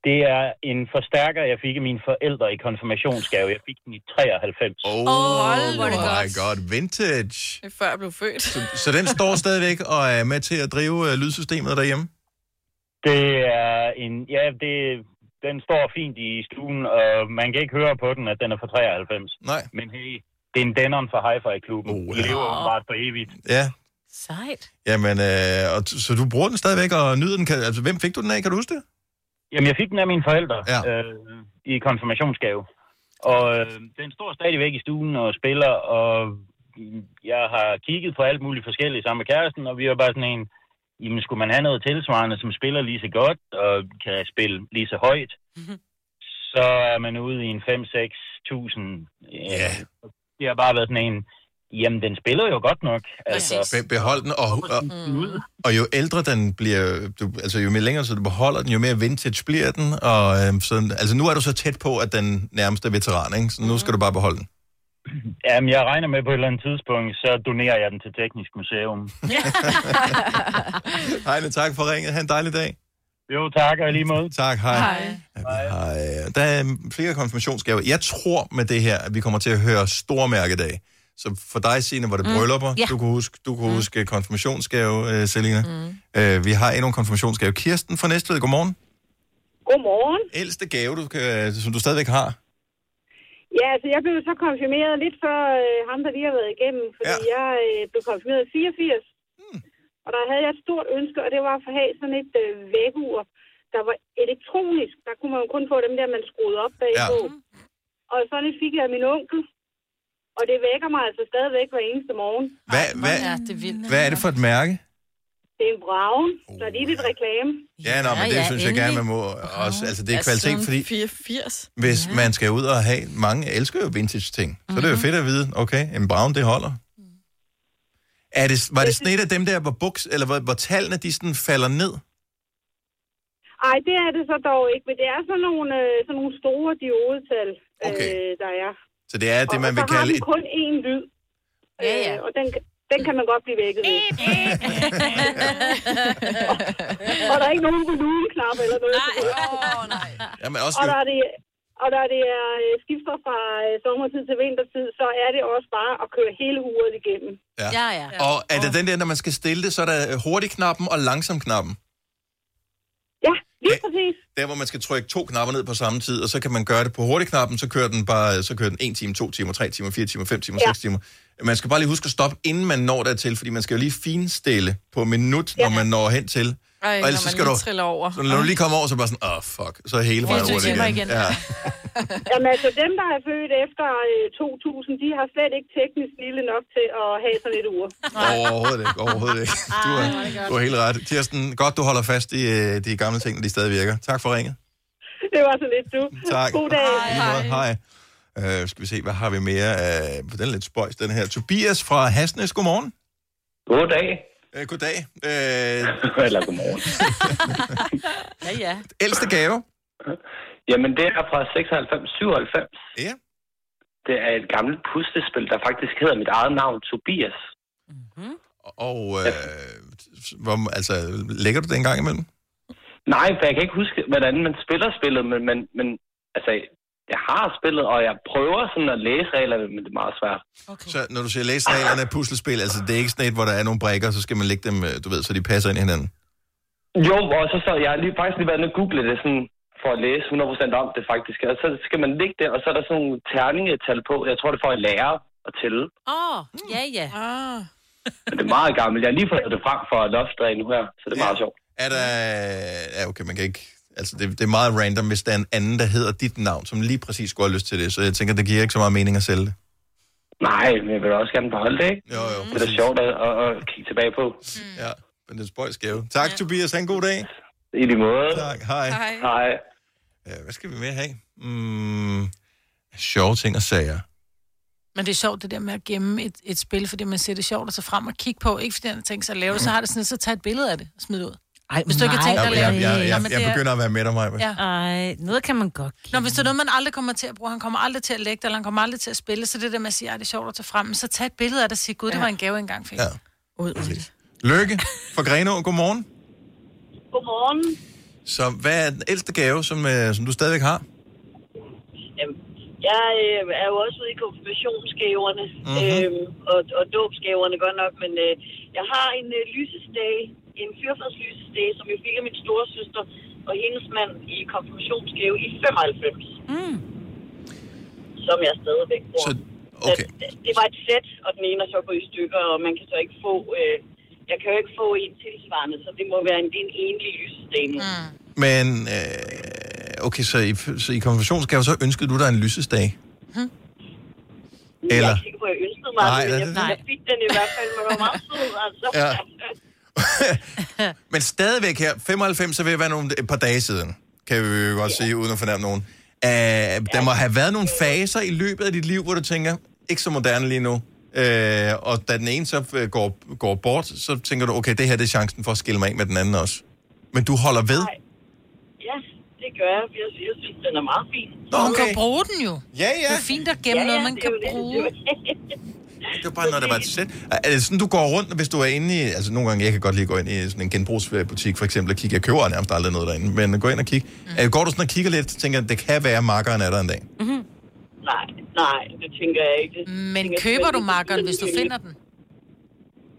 S9: Det er en forstærker, jeg fik af mine forældre i konfirmationsgave. Jeg fik den i 93.
S1: Åh, oh,
S4: hvor er det
S1: my
S4: godt.
S1: god, vintage.
S4: Det er før jeg blev født.
S1: Så den står stadigvæk og er med til at drive øh, lydsystemet derhjemme?
S9: Det er en... Ja, det, den står fint i stuen, og man kan ikke høre på den, at den er fra 93.
S1: Nej.
S9: Men hey, det er en denneren fra Hi-Fi-klubben. Oh, ja. lever bare for evigt.
S1: Ja,
S3: Sejt.
S1: jamen, øh, og t- så du bruger den stadigvæk og nyder den. Kan, altså, hvem fik du den af, kan du huske det?
S9: Jamen, jeg fik den af mine forældre ja. øh, i konfirmationsgave. Og øh, den står stadigvæk i stuen og spiller, og jeg har kigget på alt muligt forskelligt sammen med kæresten, og vi var bare sådan en, jamen skulle man have noget tilsvarende, som spiller lige så godt og kan spille lige så højt, så er man ude i en 5-6.000. Ja. Det har bare været sådan en, jamen den spiller jo godt nok. Altså,
S1: Be- behold den, og, og, og jo ældre den bliver, du, altså jo mere længere så du beholder den, jo mere vintage bliver den, og øh, sådan, altså nu er du så tæt på, at den nærmeste er veteran, ikke? så
S9: Mhm.
S1: nu skal du bare beholde den.
S9: Jamen, jeg regner med på et eller andet tidspunkt, så donerer jeg den til Teknisk Museum.
S1: Heine, tak for ringet. Ha' en dejlig dag.
S9: Jo, tak, og i lige måde.
S1: Tak, hej. Hej. Der er øhm, flere konfirmationsgaver. Jeg tror med det her, at vi kommer til at høre stormærkedag. Så for dig, Signe, var det
S22: Mm.
S1: bryllupper.
S22: Ja. Mm.
S1: Du kunne huske, du kunne huske konfirmationsgave, øh, Selina. Øh, vi har endnu en konfirmationsgave. Kirsten fra Næstved, godmorgen.
S22: Godmorgen.
S1: Ældste gave, du kan, som du stadigvæk har.
S22: Ja, altså jeg blev så konfirmeret lidt før øh, ham, der lige har været igennem, fordi ja. jeg øh, blev konfirmeret i 84.
S1: Hmm.
S22: Mm. Og der havde jeg et stort ønske, og det var at få have sådan et øh, vækkeur, der var elektronisk. Der kunne man jo kun få dem der, man skruede op bag ja. Og sådan et fik jeg af min onkel. Og det vækker mig altså stadigvæk hver eneste morgen.
S1: Hvad, hvad,
S22: Ja, det er vildt.
S1: hvad er det for et mærke?
S22: Det er en braun, så lige lidt reklame.
S1: Ja, nå, men det synes jeg gerne, man må også. Oh. Altså, det er kvalitet, fordi
S4: 84.
S1: hvis man skal ud og have... Mange elsker jo vintage ting. Så det er jo fedt at vide, okay, en brown, det holder. Er det, var det sådan et af dem der, hvor, buks, eller hvor, hvor tallene de sådan falder ned?
S22: Ej, det er det så dog ikke, men det er sådan nogle, øh, sådan nogle store diodetal, okay. øh, der er.
S1: Så det er det, man
S22: og
S1: vil
S22: så har
S1: kalde
S22: den
S1: et...
S22: kun én lyd. Ja, ja. Øh, og den, den kan man godt blive vækket ved. og, og der er ikke nogen volumenknap eller noget. Nej, oh, nej.
S1: Jamen, også
S22: og, der er det, og der det er øh, skifter fra øh, sommertid til vintertid, så er det også bare at køre hele huret igennem. Ja, ja.
S1: Og er det den der, når man skal stille det, så er der hurtigknappen og langsomknappen?
S22: Ja, lige præcis.
S1: Der, hvor man skal trykke to knapper ned på samme tid, og så kan man gøre det på hurtigknappen, så kører den bare, øh, så kører den 1 time, 2 timer, 3 timer, 4 timer, 5 timer,
S22: Ja.
S1: 6 timer. Man skal bare lige huske at stoppe, inden man når dertil, fordi man skal jo lige finstille på minut, når man når hen til.
S4: Ej,
S1: og
S4: når man lige triller over.
S1: Så når du lige kommer over, så er det bare sådan, åh, oh, fuck, så er hele vejen
S4: 24
S1: rundt
S4: timer igen.
S1: igen. Ja.
S22: Jamen altså, dem, der er født efter øh, 2000, de har slet ikke teknisk lille nok til at have sådan et ur.
S1: Overhovedet ikke, overhovedet ikke. Du har, du har helt ret. Kirsten, godt du holder fast i øh, de gamle ting, når de stadig virker. Tak for ringet.
S22: Det var så lidt, du.
S1: Tak.
S22: God dag.
S1: Hej. Hej. Uh, skal vi se, hvad har vi mere? Uh, den er lidt spøjs, den her. Tobias fra Hasnes, godmorgen.
S23: Goddag.
S1: Uh, goddag. Uh,
S23: Eller godmorgen.
S3: Ja, ja.
S1: Ældste gave?
S23: Jamen, det er fra 96-97.
S1: Ja.
S23: Det er et gammelt puslespil, der faktisk hedder mit eget navn, Tobias.
S1: og uh, hvor, altså, lægger du det en gang imellem?
S23: Nej, for jeg kan ikke huske, hvordan man spiller spillet, men, men, men altså, jeg har spillet, og jeg prøver sådan at læse reglerne, men det er meget svært.
S1: Okay. Så når du siger læsreglerne af puslespil, altså det er ikke sådan et, hvor der er nogle brækker, så skal man lægge dem, øh, du ved, så de passer ind i hinanden.
S23: Jo, og så, så jeg har lige, faktisk lige været inde og google det sådan, for at læse 100% om det faktisk. Og så skal man ligge der, og så er der sådan nogle terningetal på. Jeg tror, det får en lærer at tælle.
S3: Åh, oh, ja, ja. Ah.
S23: Men det er meget gammelt. Jeg har lige fået det frem for loftet nu her, så det er meget sjovt.
S1: Er der... Ja, okay, man kan ikke... Altså, det, det er meget random, hvis der er en anden, der hedder dit navn, som lige præcis skulle have lyst til det. Så jeg tænker, det giver ikke så meget mening at sælge det.
S23: Nej, men jeg vil også gerne beholde det, ikke?
S1: Jo, jo.
S23: Det er da sjovt at, at, at kigge tilbage på.
S1: Ja, men det er spøjs gave. Tak, ja. Tobias. Ha' en god dag.
S23: I lige måde.
S1: Tak. Hej.
S23: Hej. Hej.
S1: Ja, hvad skal vi mere have? Mm, sjove ting og sager.
S2: Men det er sjovt, det der med at gemme et, et spil, fordi man ser det sjovt at så frem og kigge på. Ikke fordi han tænker sig at lave det, så har det sådan, så tag et billede af det og smid det ud.
S3: Ej,
S2: Hvis du ikke har tænkt dig at lave
S1: Jeg, jeg,
S2: det.
S1: jeg,
S2: Nå,
S1: jeg,
S2: men det
S1: jeg
S2: er-
S1: begynder at være med dig, Maja.
S2: Ja.
S3: Ej, noget kan man godt
S2: Nå, hvis det er noget, man aldrig kommer til at bruge, han kommer aldrig til at lægge det, eller han kommer aldrig til at spille, så det der med at sige, at det er sjovt at tage frem, men så tag et billede af det og sige, gud, det var en gave, jeg engang fik.
S1: Ja.
S2: Ud af det.
S1: Lykke fra Grenå, godmorgen.
S14: Godmorgen.
S1: Så hvad er den ældste gave, som, øh, som du stadigvæk har?
S14: Jamen, jeg øh, er jo også ude i konfirmationsgaverne,
S1: Mhm.
S14: øhm, og, og dåbsgaverne godt nok, men øh, jeg har en øh, lysestage, en fyrfadslysestage, som jeg fik af min storesøster og hendes mand i konfirmationsgave i 95. Mm. Som jeg stadigvæk bruger.
S1: Så,
S14: okay. det, det var et sæt, og den ene er så gået i stykker, og man kan så ikke få... Øh, jeg kan jo ikke få en tilsvarende, så det må være en, det er en enlig lysestage nu. Mm.
S1: Men, øh, okay, så i, så i konfirmationsgave, så ønskede du dig en lysesdag?
S2: Mhm.
S14: Jeg er
S1: Eller?
S14: ikke sikker på, at jeg ønskede mig, Nej,
S1: Nej,
S14: men
S1: det-
S14: jeg, jeg fik den i hvert fald, men den var meget sød, altså.
S1: Ja. Men stadigvæk her, 95, så vil jeg være nogle, et par dage siden, kan vi jo godt sige, uden at fornærme nogen. Uh, der må have været nogle faser i løbet af dit liv, hvor du tænker, ikke så moderne lige nu. Uh, og da den ene så øh, går, går bort, så tænker du, okay, det her det er chancen for at skille mig af med den anden også. Men du holder ved?
S14: Ja, det gør jeg. Jeg, jeg synes, den er meget fin.
S2: Nå, hun kan bruge den jo.
S1: Ja, ja.
S2: Det er fint at gemme
S14: Ja, ja,
S2: noget, man
S14: det er
S2: kan
S14: jo det,
S2: bruge.
S14: det er
S1: Det var bare noget, der var et sæt. Er er det sådan, du går rundt, hvis du er inde i... Altså, nogle gange, jeg kan godt lige gå ind i sådan en genbrugsbutik, for eksempel, og kigge. Jeg køber nærmest aldrig noget derinde, men gå ind og kigge. Mm. Går du sådan og kigger lidt, tænker, det kan være, at makkeren er der en dag.
S14: Nej, nej, det tænker jeg ikke. Det
S2: Men
S14: tænker jeg
S2: køber
S14: slet
S2: du
S14: ikke.
S2: makkeren, hvis du finder den?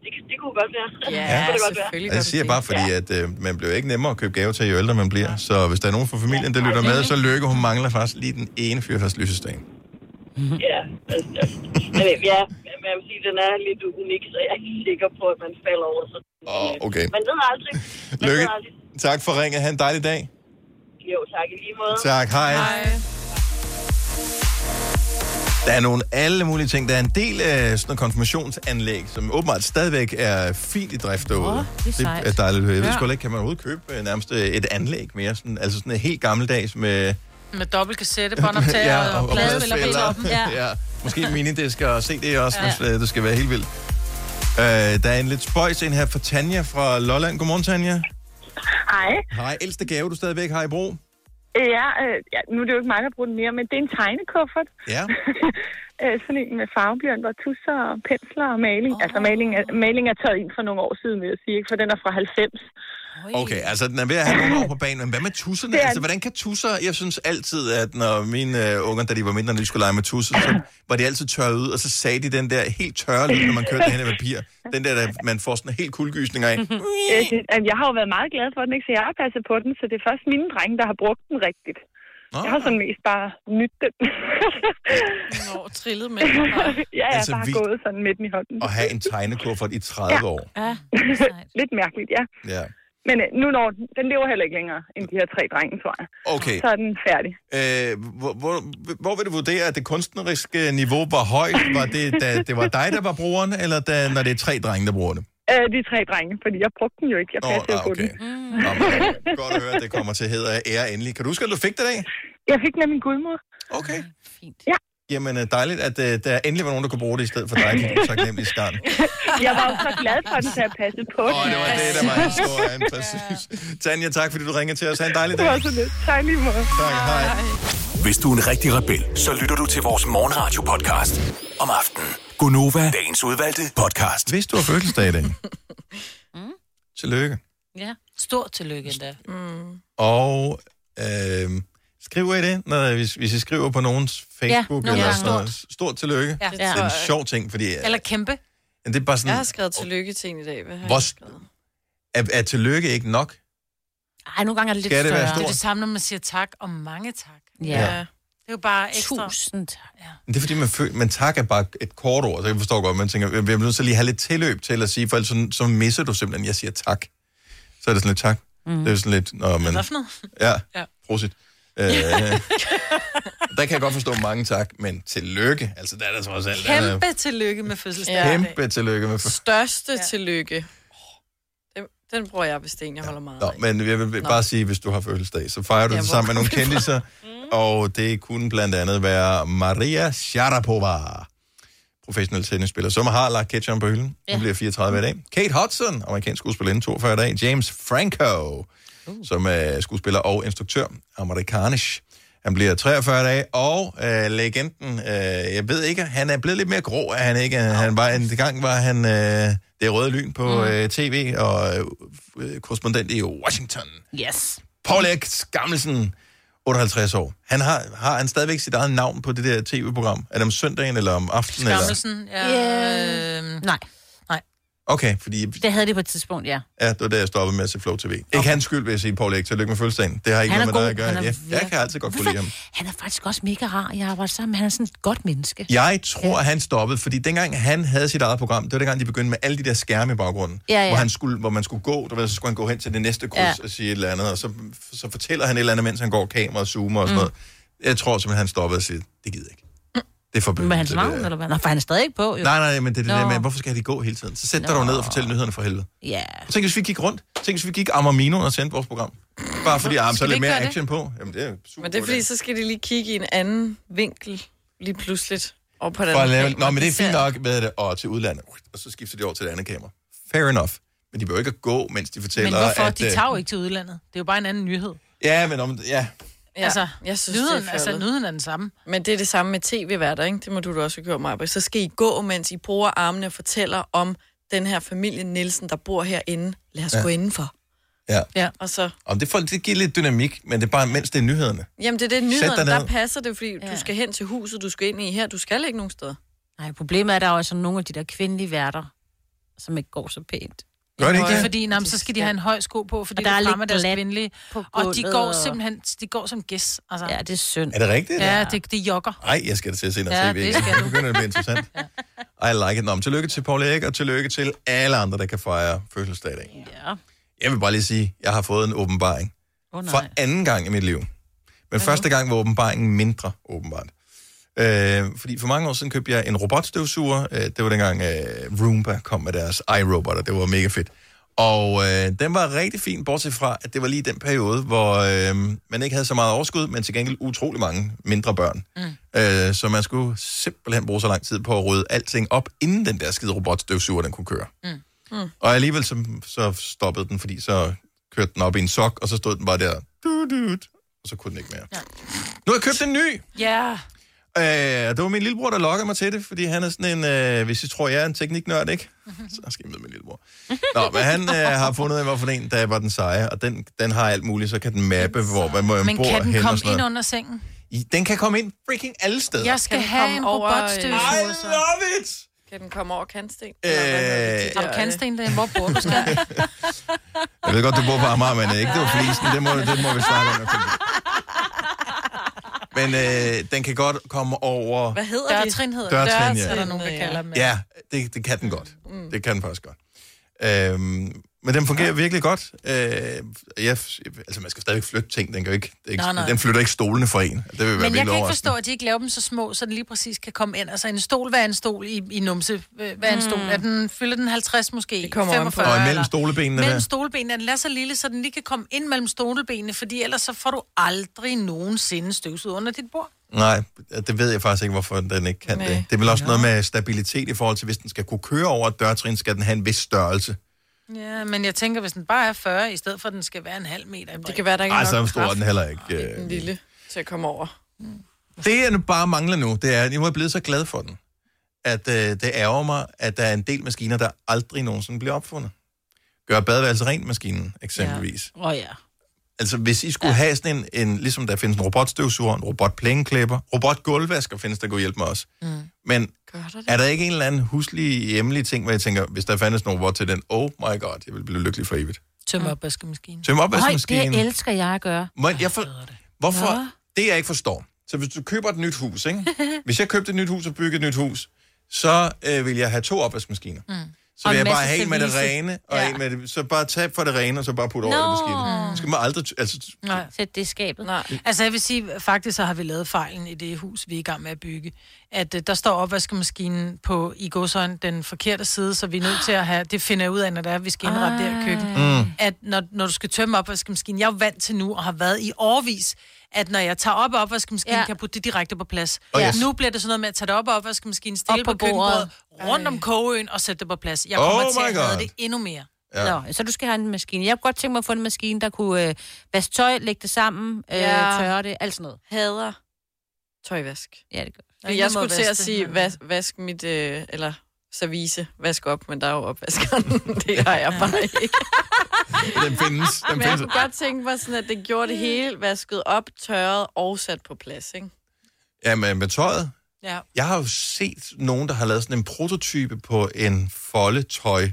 S14: Det, det kunne godt være.
S2: Ja,
S14: det kunne det godt være.
S2: selvfølgelig.
S1: Altså, Jeg siger bare, fordi at, øh, man bliver ikke nemmere at købe gave til, jo ældre man bliver. Så hvis der er nogen fra familien, der lytter med, så lykke, hun mangler faktisk lige den ene fyrfast lysestage.
S14: Ja, altså, men, ja, men jeg vil sige, den er lidt unik, så jeg er ikke sikker på, at man falder over. Så,
S1: Åh, okay.
S14: Man ved aldrig. Man
S1: Lykke.
S14: ved aldrig.
S1: Tak for ringet. Ha' en dejlig dag.
S14: Jo, tak i lige måde.
S1: Tak, hej. Hej. Der er nogle alle mulige ting. Der er en del af sådan noget konfirmationsanlæg, som åbenbart stadigvæk er fint i drift derude.
S3: Åh, det er sejt.
S1: det er dejligt. at høre. Jeg ved
S2: Ja.
S1: sgu heller ikke, kan man overhovedet købe øh, nærmest øh, et anlæg mere? Sådan, altså sådan et helt gammeldags med...
S2: Med dobbelt kassette, båndoptager ja, og, og pladespiller på toppen. Ja.
S1: ja. Måske minidisker og CD også,
S2: Ja.
S1: ja. hvis øh, det skal være helt vildt. Øh, der er en lidt spøjs en her fra Tanja fra Lolland. Godmorgen, Tanja.
S7: Hej.
S1: Hej, ældste gave, du stadigvæk har i brug.
S7: Øh, Ja, øh, ja, nu er det jo ikke mig, der bruger den mere, men det er en tegnekuffert.
S1: Ja.
S7: Øh, sådan en med farvebjørn og tusser og pensler og maling. Oh. Altså, maling er, maling er taget ind for nogle år siden, vil jeg sige, ikke? for den er fra 90.
S1: Okay, altså den er ved at have nogle år på banen, men hvad med tusserne?
S7: Det er
S1: Altså,
S7: den.
S1: hvordan kan tusser... Jeg synes altid, at når mine øh, unger, da de var mindre, når de skulle lege med tusser, så var de altid tørret ud, og så sagde de den der helt tørre lyd, når man kørte hen af papir. Den der, der, man får sådan helt kuldegysninger af.
S7: Øh, det, øh, jeg har jo været meget glad for den, ikke? så jeg har passet på den, så det er først mine drenge, der har brugt den rigtigt.
S1: Nå.
S7: Jeg har sådan mest bare nydt den.
S2: Nå, trillet med.
S7: ja, jeg
S1: Altså,
S7: altså, bare
S1: vi-
S7: vi... gået sådan midten i hånden.
S1: Og have en tegnekuffert i 30 år.
S7: Ja, Lidt mærkeligt, ja.
S1: Ja.
S7: Men øh, nu når den, den lever heller ikke længere end de her tre drenge, tror jeg.
S1: Okay.
S7: Så er den færdig.
S1: Øh, hvor, hvor, hvor vil du vurdere, at det kunstneriske niveau var højt? Var det, da det var dig, der var brugeren, eller da, når det er tre drenge, der bruger det?
S7: Øh, de tre drenge, fordi jeg brugte den jo ikke. Jeg
S1: Nå,
S7: passede
S1: ah,
S7: på
S1: okay.
S7: den.
S1: Nå, men, godt at høre, at det kommer til heder og ære endelig. Kan du huske, at du fik det i dag?
S7: Jeg fik den af min gudmor.
S1: Okay.
S7: Fint. Ja,
S1: Jamen, øh, dejligt, at uh, der endelig var nogen, der kunne bruge det i stedet for dig, kan tak nemlig skarn.
S7: jeg var jo så glad for den, så jeg passede på den. Åh,
S1: det var det, der var historien, præcis. Tanja, tak fordi du ringede til os. Ha' en dejlig
S7: Det
S1: dag.
S7: var så lidt. Tak lige måde.
S1: Tak, hej.
S13: Hvis du er en rigtig rebel, så lytter du til vores morgenradio-podcast om aftenen. Gunova, dagens udvalgte podcast.
S1: Hvis du har fødselsdag i dag, tillykke.
S2: Ja, stort tillykke endda. Mm.
S1: Og øh, skriver I det, når, hvis, hvis I skriver på nogens Facebook?
S2: nogle
S1: eller
S2: gange.
S1: sådan noget? Stort tillykke.
S2: Ja.
S1: Det er en sjov ting, fordi øh,
S2: Eller kæmpe.
S1: det er bare
S4: Jeg har
S1: sådan,
S4: skrevet tillykke til en i dag. Hvad har
S1: hvor,
S4: jeg?
S1: er, er tillykke ikke nok?
S2: Ej, nogle gange er det lidt
S1: Skal det være
S2: større. Det er
S1: stort?
S2: det samme, når man siger tak og mange tak.
S1: Ja.
S2: Det er jo bare ekstra.
S3: Tusind tak.
S1: Men Det er fordi, man, føl- man tak er bare et kort ord, så jeg forstår godt, man tænker, vi bliver nødt til lige at have lidt tilløb til at sige, for ellers så, så misser du simpelthen, jeg siger tak. Så er det sådan lidt tak. Mm. Det er jo sådan lidt, nå, men...
S2: Mhm. Hvad for noget?
S1: Ja,
S2: Ja.
S1: prosit. Øh, der kan jeg godt forstå mange tak, men tillykke. Altså, der er der trods alt. der er-
S2: Kæmpe tillykke med fødselsdagen.
S4: Ja.
S1: Kæmpe tillykke med for...
S4: Største ja. tillykke. Åh, Den, den bruger jeg hvis det er en, jeg holder meget.
S1: Nå, men jeg vil bare sige, hvis du har fødselsdag, så fejrer du
S4: Ja,
S1: det
S4: hvor Mm.
S1: sammen med nogle
S4: kom det fra?
S1: kendiser. Og det kunne blandt andet være Maria Sharapova, professionel tennisspiller, som har lagt ketchup på hylden. Hun
S10: Ja.
S1: bliver 34 i dag. Kate Hudson, amerikansk skuespillerinde, 42 i dag. James Franco, Mm. som er skuespiller og instruktør, amerikanisk. Han bliver 43 i dag, og øh, legenden, øh, jeg ved ikke, han er blevet lidt mere grå, er han ikke? Han var, en gang var han øh, det røde lyn på
S3: Mm.
S1: øh, tv, og øh, korrespondent i Washington.
S3: Yes.
S1: Paul X. Gammelsen, 58 år. Han har, har han stadigvæk sit eget navn på det der tv-program? Er det om søndagen eller om aftenen? Eller?
S2: Skammelsen. Ja.
S3: Yeah.
S2: Øh,
S3: Nej,
S1: Okay, fordi
S3: det havde det på et tidspunkt, ja.
S1: ja, det var da jeg stoppede med at se Flow TV. Ikke hans skyld, vil jeg sige, Paul X. Tillykke med fødselsdagen. Det har ikke
S3: Han er
S1: noget med dig
S3: god.
S1: at gøre.
S3: Han er
S1: Jeg, jeg kan altid godt kunne lide ham.
S3: Han er faktisk også mega rar, jeg arbejder sammen med. Han er sådan et godt menneske.
S1: Jeg tror, han stoppede, fordi dengang han havde sit eget program, det var dengang, de begyndte med alle de der skærme i baggrunden,
S3: Ja, ja.
S1: Hvor, han skulle, hvor man skulle gå, der, så skulle han gå hen til det næste kryds
S3: Ja.
S1: ja. og sige et eller andet, og så, så fortæller han et eller andet, mens han går kamera og zoomer og sådan mm. noget. Jeg tror simpelthen, han stoppede og siger, det gider jeg ikke. Det er forbudt.
S3: Med hans
S1: det
S3: navn,
S1: der.
S3: eller hvad? Nå, for han er stadig ikke på, jo.
S1: Nej, nej, men det er det
S3: Nå.
S1: der med, hvorfor skal de gå hele tiden? Så sæt dig
S3: Nå.
S1: dog ned og fortæl nyhederne for helvede.
S3: Ja.
S1: Tænk, hvis vi gik rundt. Tænk, hvis vi gik Amarmino og sendte vores program. Bare fordi, ah, men så
S4: Skal vi
S1: er lidt
S4: ikke
S1: mere
S4: gøre det?
S1: action på. Jamen, det er super
S4: Men det er fordi, så skal de lige kigge i en anden vinkel lige pludseligt. Og på den
S1: For at lave,
S4: vinkel,
S1: nå, men det er
S4: ser-
S1: fint nok med det, og til udlandet. Og så skifter de over til det andet kamera. Fair enough. Men de behøver ikke at gå, mens de fortæller,
S2: Men hvorfor?
S1: at...
S2: de
S1: øh,
S2: tager jo ikke til udlandet. Det er jo bare en anden nyhed.
S1: Ja, men om... Ja.
S4: Ja,
S2: altså,
S4: jeg synes,
S2: nyheden-
S4: det er
S2: altså, nyheden er den samme.
S4: Men det er det samme med tv-værter, ikke? Det må du da også have gjort, Maja. Så skal I gå, mens I bruger armene og fortæller om den her familie Nielsen, der bor herinde. Lad os
S1: Ja.
S4: ja. gå indenfor.
S1: Ja.
S2: ja.
S4: Og så...
S1: Om det, får, det giver lidt dynamik, men det er bare, mens det er nyhederne.
S4: Jamen, det er det
S1: Sæt dig
S4: nyheden,
S1: ned.
S4: der passer det, fordi ja. du skal hen til huset, du skal ind i her. Du skal ikke nogen steder.
S3: Nej, problemet er, at der er også nogle af de der kvindelige værter, som ikke går så pænt.
S1: Gør det ikke
S2: Det er
S1: det?
S2: fordi, nej, så skal de have en høj sko på, fordi
S3: Og der er
S2: det
S3: lidt
S2: fremmer deres
S3: glat
S2: kvindelige.
S3: på
S2: Og de
S3: gulvet,
S2: går
S3: og-
S2: simpelthen de går som gæs. Altså. Ja,
S3: det er synd.
S1: Er det rigtigt?
S2: Ja, det, det jogger.
S1: Ej, jeg skal da til at se noget
S2: Ja,
S1: tv.
S2: det
S1: igen.
S2: skal
S1: Nu begynder det at blive interessant. I like it. Nå, men tillykke til Paul Erik, og tillykke til alle andre, der kan fejre fødselsdag i dag.
S3: Ja.
S1: Jeg vil bare lige sige, jeg har fået en åbenbaring.
S3: Åh,
S1: For anden gang i mit liv. Men første gang var åbenbaringen mindre, åbenbart. Øh, fordi for mange år siden købte jeg en robotstøvsuger. Øh, det var dengang øh, Roomba kom med deres iRobot, og det var mega fedt. Og øh, den var rigtig fin, bortset fra, at det var lige den periode, hvor øh, man ikke havde så meget overskud, men til gengæld utrolig mange mindre børn. Mm. Øh, så man skulle simpelthen bruge så lang tid på at rydde alting op, inden den der skide robotstøvsuger, den kunne køre.
S12: Mm.
S1: Og alligevel så, så stoppede den, fordi så kørte den op i en sok, og så stod den bare der, du, du, du, og så kunne den ikke mere. Ja. Nu har jeg købt en ny!
S2: Ja.
S1: Øh, og det var min lillebror, der lokkede mig til det, fordi han er sådan en, øh, hvis I tror, jeg er en tekniknørd, ikke? Så skal I møde min lillebror. Nå, men han øh, har fundet ud af, hvorfor en, der var den seje, og den, den har alt muligt, så kan den mappe, hvor man, hvor man
S2: Men
S1: bor
S2: kan den
S1: hen og
S2: komme
S1: sådan
S2: ind
S1: noget.
S2: under sengen?
S1: I- Den kan komme ind freaking alle steder.
S2: Jeg skal
S4: Kan den
S2: have
S4: komme
S2: en
S4: over, øh,
S2: robotstøvsuger.
S4: I
S2: så.
S1: love it!
S4: Kan den komme over kantsten?
S1: Øh,
S2: Har du kandsten derinde? Hvor bor du skal?
S1: jeg ved godt, du bor på Amager, men øh, ikke det var flisen, det må, det må vi snakke om. Men øh, den kan godt komme over...
S4: Hvad hedder
S2: Dørtrin
S4: det?
S2: Dørtrin hedder det.
S1: Dørtrin,
S2: Dørtrin,
S1: ja.
S2: er der nogen, der kalder dem.
S1: Ja, det, det kan den godt. Mm. Det kan den faktisk godt. Øhm, men den fungerer virkelig godt. Øh, jeg, altså, man skal stadigvæk flytte ting. Den, kan jo ikke, det er ikke,
S2: Nej, nej.
S1: den flytter ikke stolene for en. Det vil være
S2: Men jeg
S1: virkelig
S2: kan ikke
S1: overraskende.
S2: forstå, at de ikke laver dem så små, så den lige præcis kan komme ind. Altså en stol, hvad er en stol i, i numse? Øh, Hvad er en stol?
S4: Mm.
S2: Er den, fylder den 50 måske? Det
S4: kommer an på.
S2: 45,
S1: Og imellem
S2: eller-
S1: stolebenene der.
S2: Mellem stolebenene. Den er så lille, så den lige kan komme ind mellem stolebenene, fordi ellers så får du aldrig nogensinde støvsud under dit bord.
S1: Nej, det ved jeg faktisk ikke, hvorfor den ikke kan Nej. det. Det er vel også noget med stabilitet i forhold til, hvis den skal kunne køre over et dørtrin, skal den have en vis størrelse.
S2: Ja, men jeg tænker, hvis den bare er 40, i stedet for at den skal være en halv meter. Det kan være,
S4: der
S1: Ej, så stor er den heller ikke. Øh,
S4: En lille til at komme over.
S1: Det, jeg nu bare mangler nu, det er, at jeg er blevet så glad for den, at øh, det ærger mig, at der er en del maskiner, der aldrig nogensinde bliver opfundet. Gør badeværelse rent maskinen, eksempelvis. Ja.
S3: Åh oh, ja.
S1: Altså, hvis I skulle ja. have sådan en, en, ligesom der findes en robotstøvsuger, en robotplæneklipper, robotgulvvasker findes der, kunne hjælpe mig også. Mm. Men er der ikke en eller anden huslig, hjemlig ting, hvor jeg tænker, hvis der fandtes en robot til den, oh my god, jeg ville blive lykkelig for evigt.
S2: Tøm opvaskemaskinen.
S1: Tøm
S3: Høj, det
S1: opvaskemaskinen.
S3: elsker jeg at gøre.
S1: Men jeg for... Hvorfor?
S3: Nå.
S1: Det, jeg ikke forstår, Så hvis du køber et nyt hus, ikke? Hvis jeg købte et nyt hus og byggede et nyt hus, så øh, vil jeg have to opvaskemaskiner.
S3: Mm.
S1: Så
S3: Og
S1: vil
S3: en
S1: jeg bare
S3: masse
S1: have en med det
S3: service.
S1: rene, og
S3: Ja.
S1: ja. en med det, så bare tage for det rene, og så bare putte over i
S2: Nå.
S1: maskinen. Så skal man aldrig, altså,
S2: Nej.
S3: Sæt det i skabet.
S2: Nej. Altså jeg vil sige, faktisk så har vi lavet fejlen i det hus, vi er i gang med at bygge. At øh, der står opvaskemaskinen på i godsøjen den forkerte side, så vi er nødt til at have, det finder jeg ud af, når det er, vi skal indrette det her køkken.
S10: Mm.
S2: At når, når du skal tømme opvaskemaskinen, jeg er jo vant til nu og har været i årvis, at når jeg tager op af opvaskemaskinen, ja. kan jeg putte det direkte på plads.
S10: Og
S2: Ja.
S10: yes.
S2: Nu bliver det sådan noget med at tage det op af opvaskemaskinen, stille
S3: Op
S2: på,
S3: på
S2: på køkkenbordet, rundt
S3: Ej.
S2: om kogeøen og sætte det på plads. Jeg kommer
S3: Oh
S2: til
S3: my
S2: at have
S3: God.
S2: det endnu mere.
S3: Ja. Nå, så du skal have en maskine. Jeg kunne godt tænke mig at få en maskine, der kunne øh, vaske tøj, lægge det sammen, øh,
S4: Ja.
S3: tørre det, alt sådan noget.
S4: Hader tøjvask.
S3: Ja, det gør
S4: Jeg,
S3: Ingen
S4: jeg
S3: må
S4: skulle til at
S3: vaske det,
S4: sige,
S3: men-
S4: vas, vask mit, øh, eller service, vask op, men der er jo opvaskeren. det har jeg bare ikke.
S1: den findes. Den
S4: Men jeg
S1: findes.
S4: kunne godt tænke mig sådan, at det gjorde det hele vasket op, tørret og sat på plads, ikke?
S1: Ja, med, med tøjet.
S2: Ja.
S1: Jeg har jo set nogen, der har lavet sådan en prototype på en foldetøj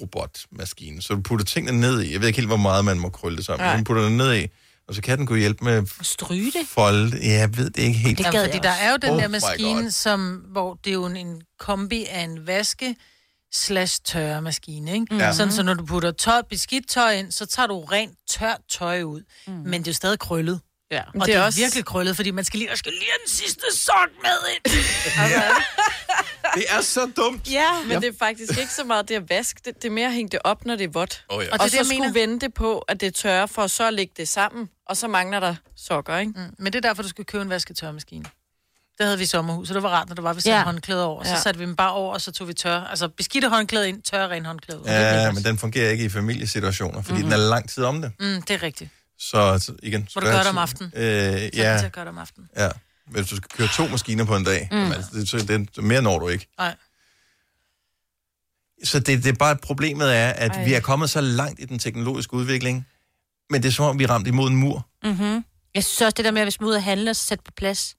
S1: robotmaskine, så du putter tingene ned i. Jeg ved ikke helt, hvor meget man må krølle det sammen,
S2: Nej.
S1: men du putter det ned i, og så kan den kunne hjælpe med at
S3: stryge det.
S1: folde. Ja, jeg ved det ikke helt.
S2: Det ja, fordi der er jo den
S1: Oh
S2: der
S1: my
S2: maskine,
S1: God.
S2: som, hvor det er jo en, en kombi af en vaske slash tørre maskine, ikke?
S10: Ja.
S2: Mm. Sådan, så når du putter tøj, beskidt tøj ind, så tager du rent tørt tøj ud. Mm. Men det er jo stadig krøllet.
S4: Ja.
S2: Og det er, også... virkelig krøllet, fordi man skal lige, der skal lige den sidste sok med ind.
S1: Det er så dumt.
S4: Ja, men ja. det er faktisk ikke så meget det at vaske det. Det er mere at hænge det op, når det er vådt.
S1: Oh, ja.
S4: Og,
S1: Og
S4: og
S1: det er
S4: det, så
S1: det, jeg
S4: skulle vente på, at det er tørre, for så at lægge det sammen. Og så mangler der sokker, ikke?
S2: Mm. Men det er derfor, du skal købe en vasketørmaskine. Det havde vi i sommerhus, så det var rart, når der var, vi satte
S4: Ja.
S2: ja. håndklæder over. Så
S4: Ja.
S2: satte vi dem bare over, og så tog vi tør. Altså beskidte håndklæde ind, tørre ren håndklæde ud.
S1: Ja, men den fungerer ikke i familiesituationer, fordi mm-hmm. den er lang tid om det.
S2: Mhm. Mm, det er rigtigt.
S1: Så så igen...
S2: Må du
S1: spørg-
S2: gøre det om aftenen.
S1: Øh,
S2: Sæt den
S1: ja,
S2: til at gøre det om aftenen.
S1: ja. Hvis du skal køre to maskiner på en dag,
S2: Mm.
S1: mm. jamen, altså, det, så det, mere når du ikke.
S2: Nej.
S1: Så det, det er bare, problemet er, at
S3: Ej.
S1: Ej. vi er kommet så langt i den teknologiske udvikling, men det er som om, vi er ramt imod en mur.
S3: Mm-hmm. Jeg synes også, det der med, at hvis man ud og handler, så sæt på plads.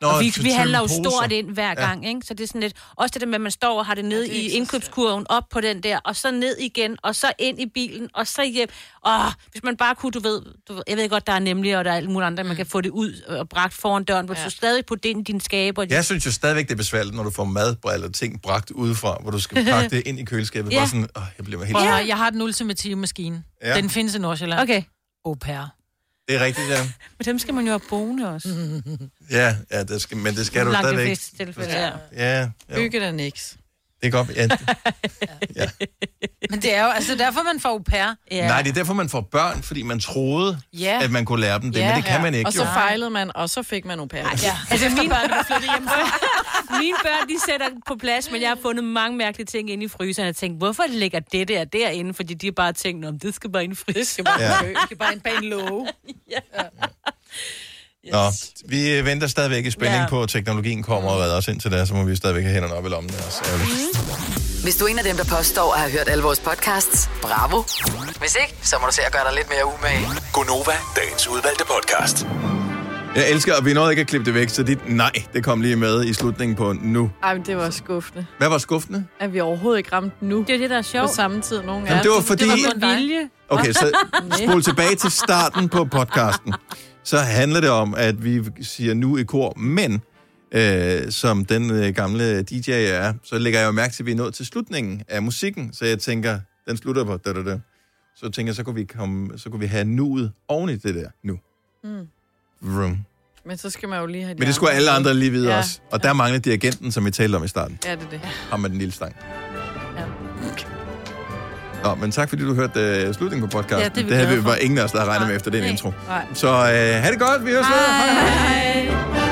S1: Nå,
S3: Nå, og vi,
S1: til-
S3: vi
S1: til
S3: handler jo
S1: poser.
S3: stort ind hver
S1: Ja.
S3: gang, ja. ikke? Så det er sådan lidt... Også det der med, at man står og har det nede ja, i indkøbskurven, op på den der, og så ned igen, og så ind i bilen, og så hjem. Åh, hvis man bare kunne, du ved... Du, ved- jeg ved godt, der er nemlig, og der er alt muligt andet, man kan få det ud og bragt foran døren, hvor Mm. ja. du stadig putte det ind i din skabe. Og din...
S1: Jeg synes jo stadigvæk, det er besværligt, når du får mad eller ting bragt udefra, hvor du skal pakke det ind i køleskabet.
S2: Ja.
S1: Bare sådan, åh, jeg bliver helt...
S2: Prøv at høre, jeg har den ultimative maskine.
S1: Ja.
S2: Ja. Den findes i Nordsjælland.
S3: Okay.
S2: Au pair.
S1: Det er rigtigt, ja.
S3: Men dem skal man jo have boende også.
S1: Ja, ja det skal, men det skal du
S3: Langt de
S1: stadigvæk.
S3: fleste tilfælde, ja.
S1: Ja, jo.
S4: Bygge den ikke.
S1: det er godt. Ja.
S2: Men det er jo altså derfor, man får au pair.
S1: Ja. Nej, det er derfor, man får børn, fordi man troede,
S2: Ja.
S1: at man kunne lære dem det, men det kan man ikke.
S4: Og så
S1: jo.
S4: fejlede man, og så fik man au pair.
S3: Ja. Altså, mine børn, der flytter hjem Mine børn, de sætter på plads, men jeg har fundet mange mærkelige ting inde i fryseren. Jeg tænkte, hvorfor ligger det der derinde? Fordi de har bare tænkt, om det skal bare ind i fryseren. Det skal
S1: bare Ja.
S2: Det er bare en bag en låge.
S1: Nå, vi øh, venter stadigvæk i spænding
S5: Ja.
S1: ja. på, at teknologien kommer og redder os indtil da, så må vi stadigvæk have hænderne op i lommen. Det er også ærgerligt.
S5: Hvis du er en af dem, der påstår at have hørt alle vores podcasts, bravo. Hvis ikke, så må du se at gøre dig lidt mere umage.
S13: Gonova, dagens udvalgte podcast.
S1: Jeg elsker, at vi nåede ikke at klippe det væk, så dit nej, det kom lige med i slutningen på nu.
S4: Ej, men det var skuffende,
S1: Hvad var skuffende?
S4: at vi overhovedet ikke ramte nu.
S3: Det er det, der er sjovt.
S4: På samme tid, nogen
S1: Jamen, det var fordi-
S4: Det var kun dig.
S1: Okay, så spol tilbage til starten på podcasten. Så handler det om, at vi siger nu i kor, men øh, som den øh, gamle DJ jeg er, så lægger jeg jo mærke til, at vi er nået til slutningen af musikken, så jeg tænker, den slutter på da, da, da. Så tænker jeg, så kunne vi, komme, så kunne vi have nuet oven i det der nu.
S4: Mm.
S1: Vroom.
S4: Men så skal man jo lige have de
S1: Men det skulle alle andre lige vide
S4: ja.
S1: ja. også. Og der mangler dirigenten, som vi talte om i starten.
S4: Ja, det er det.
S1: Ham med den lille stang. Nå, men tak fordi du hørte uh, slutningen på podcasten.
S4: Ja, det er vi
S1: det havde
S4: glade
S1: vi
S4: for.
S1: bare ingen af os, der havde regnet med efter den intro.
S4: Nej.
S1: Så uh, ha' det godt. Vi høres ved.
S4: Hej.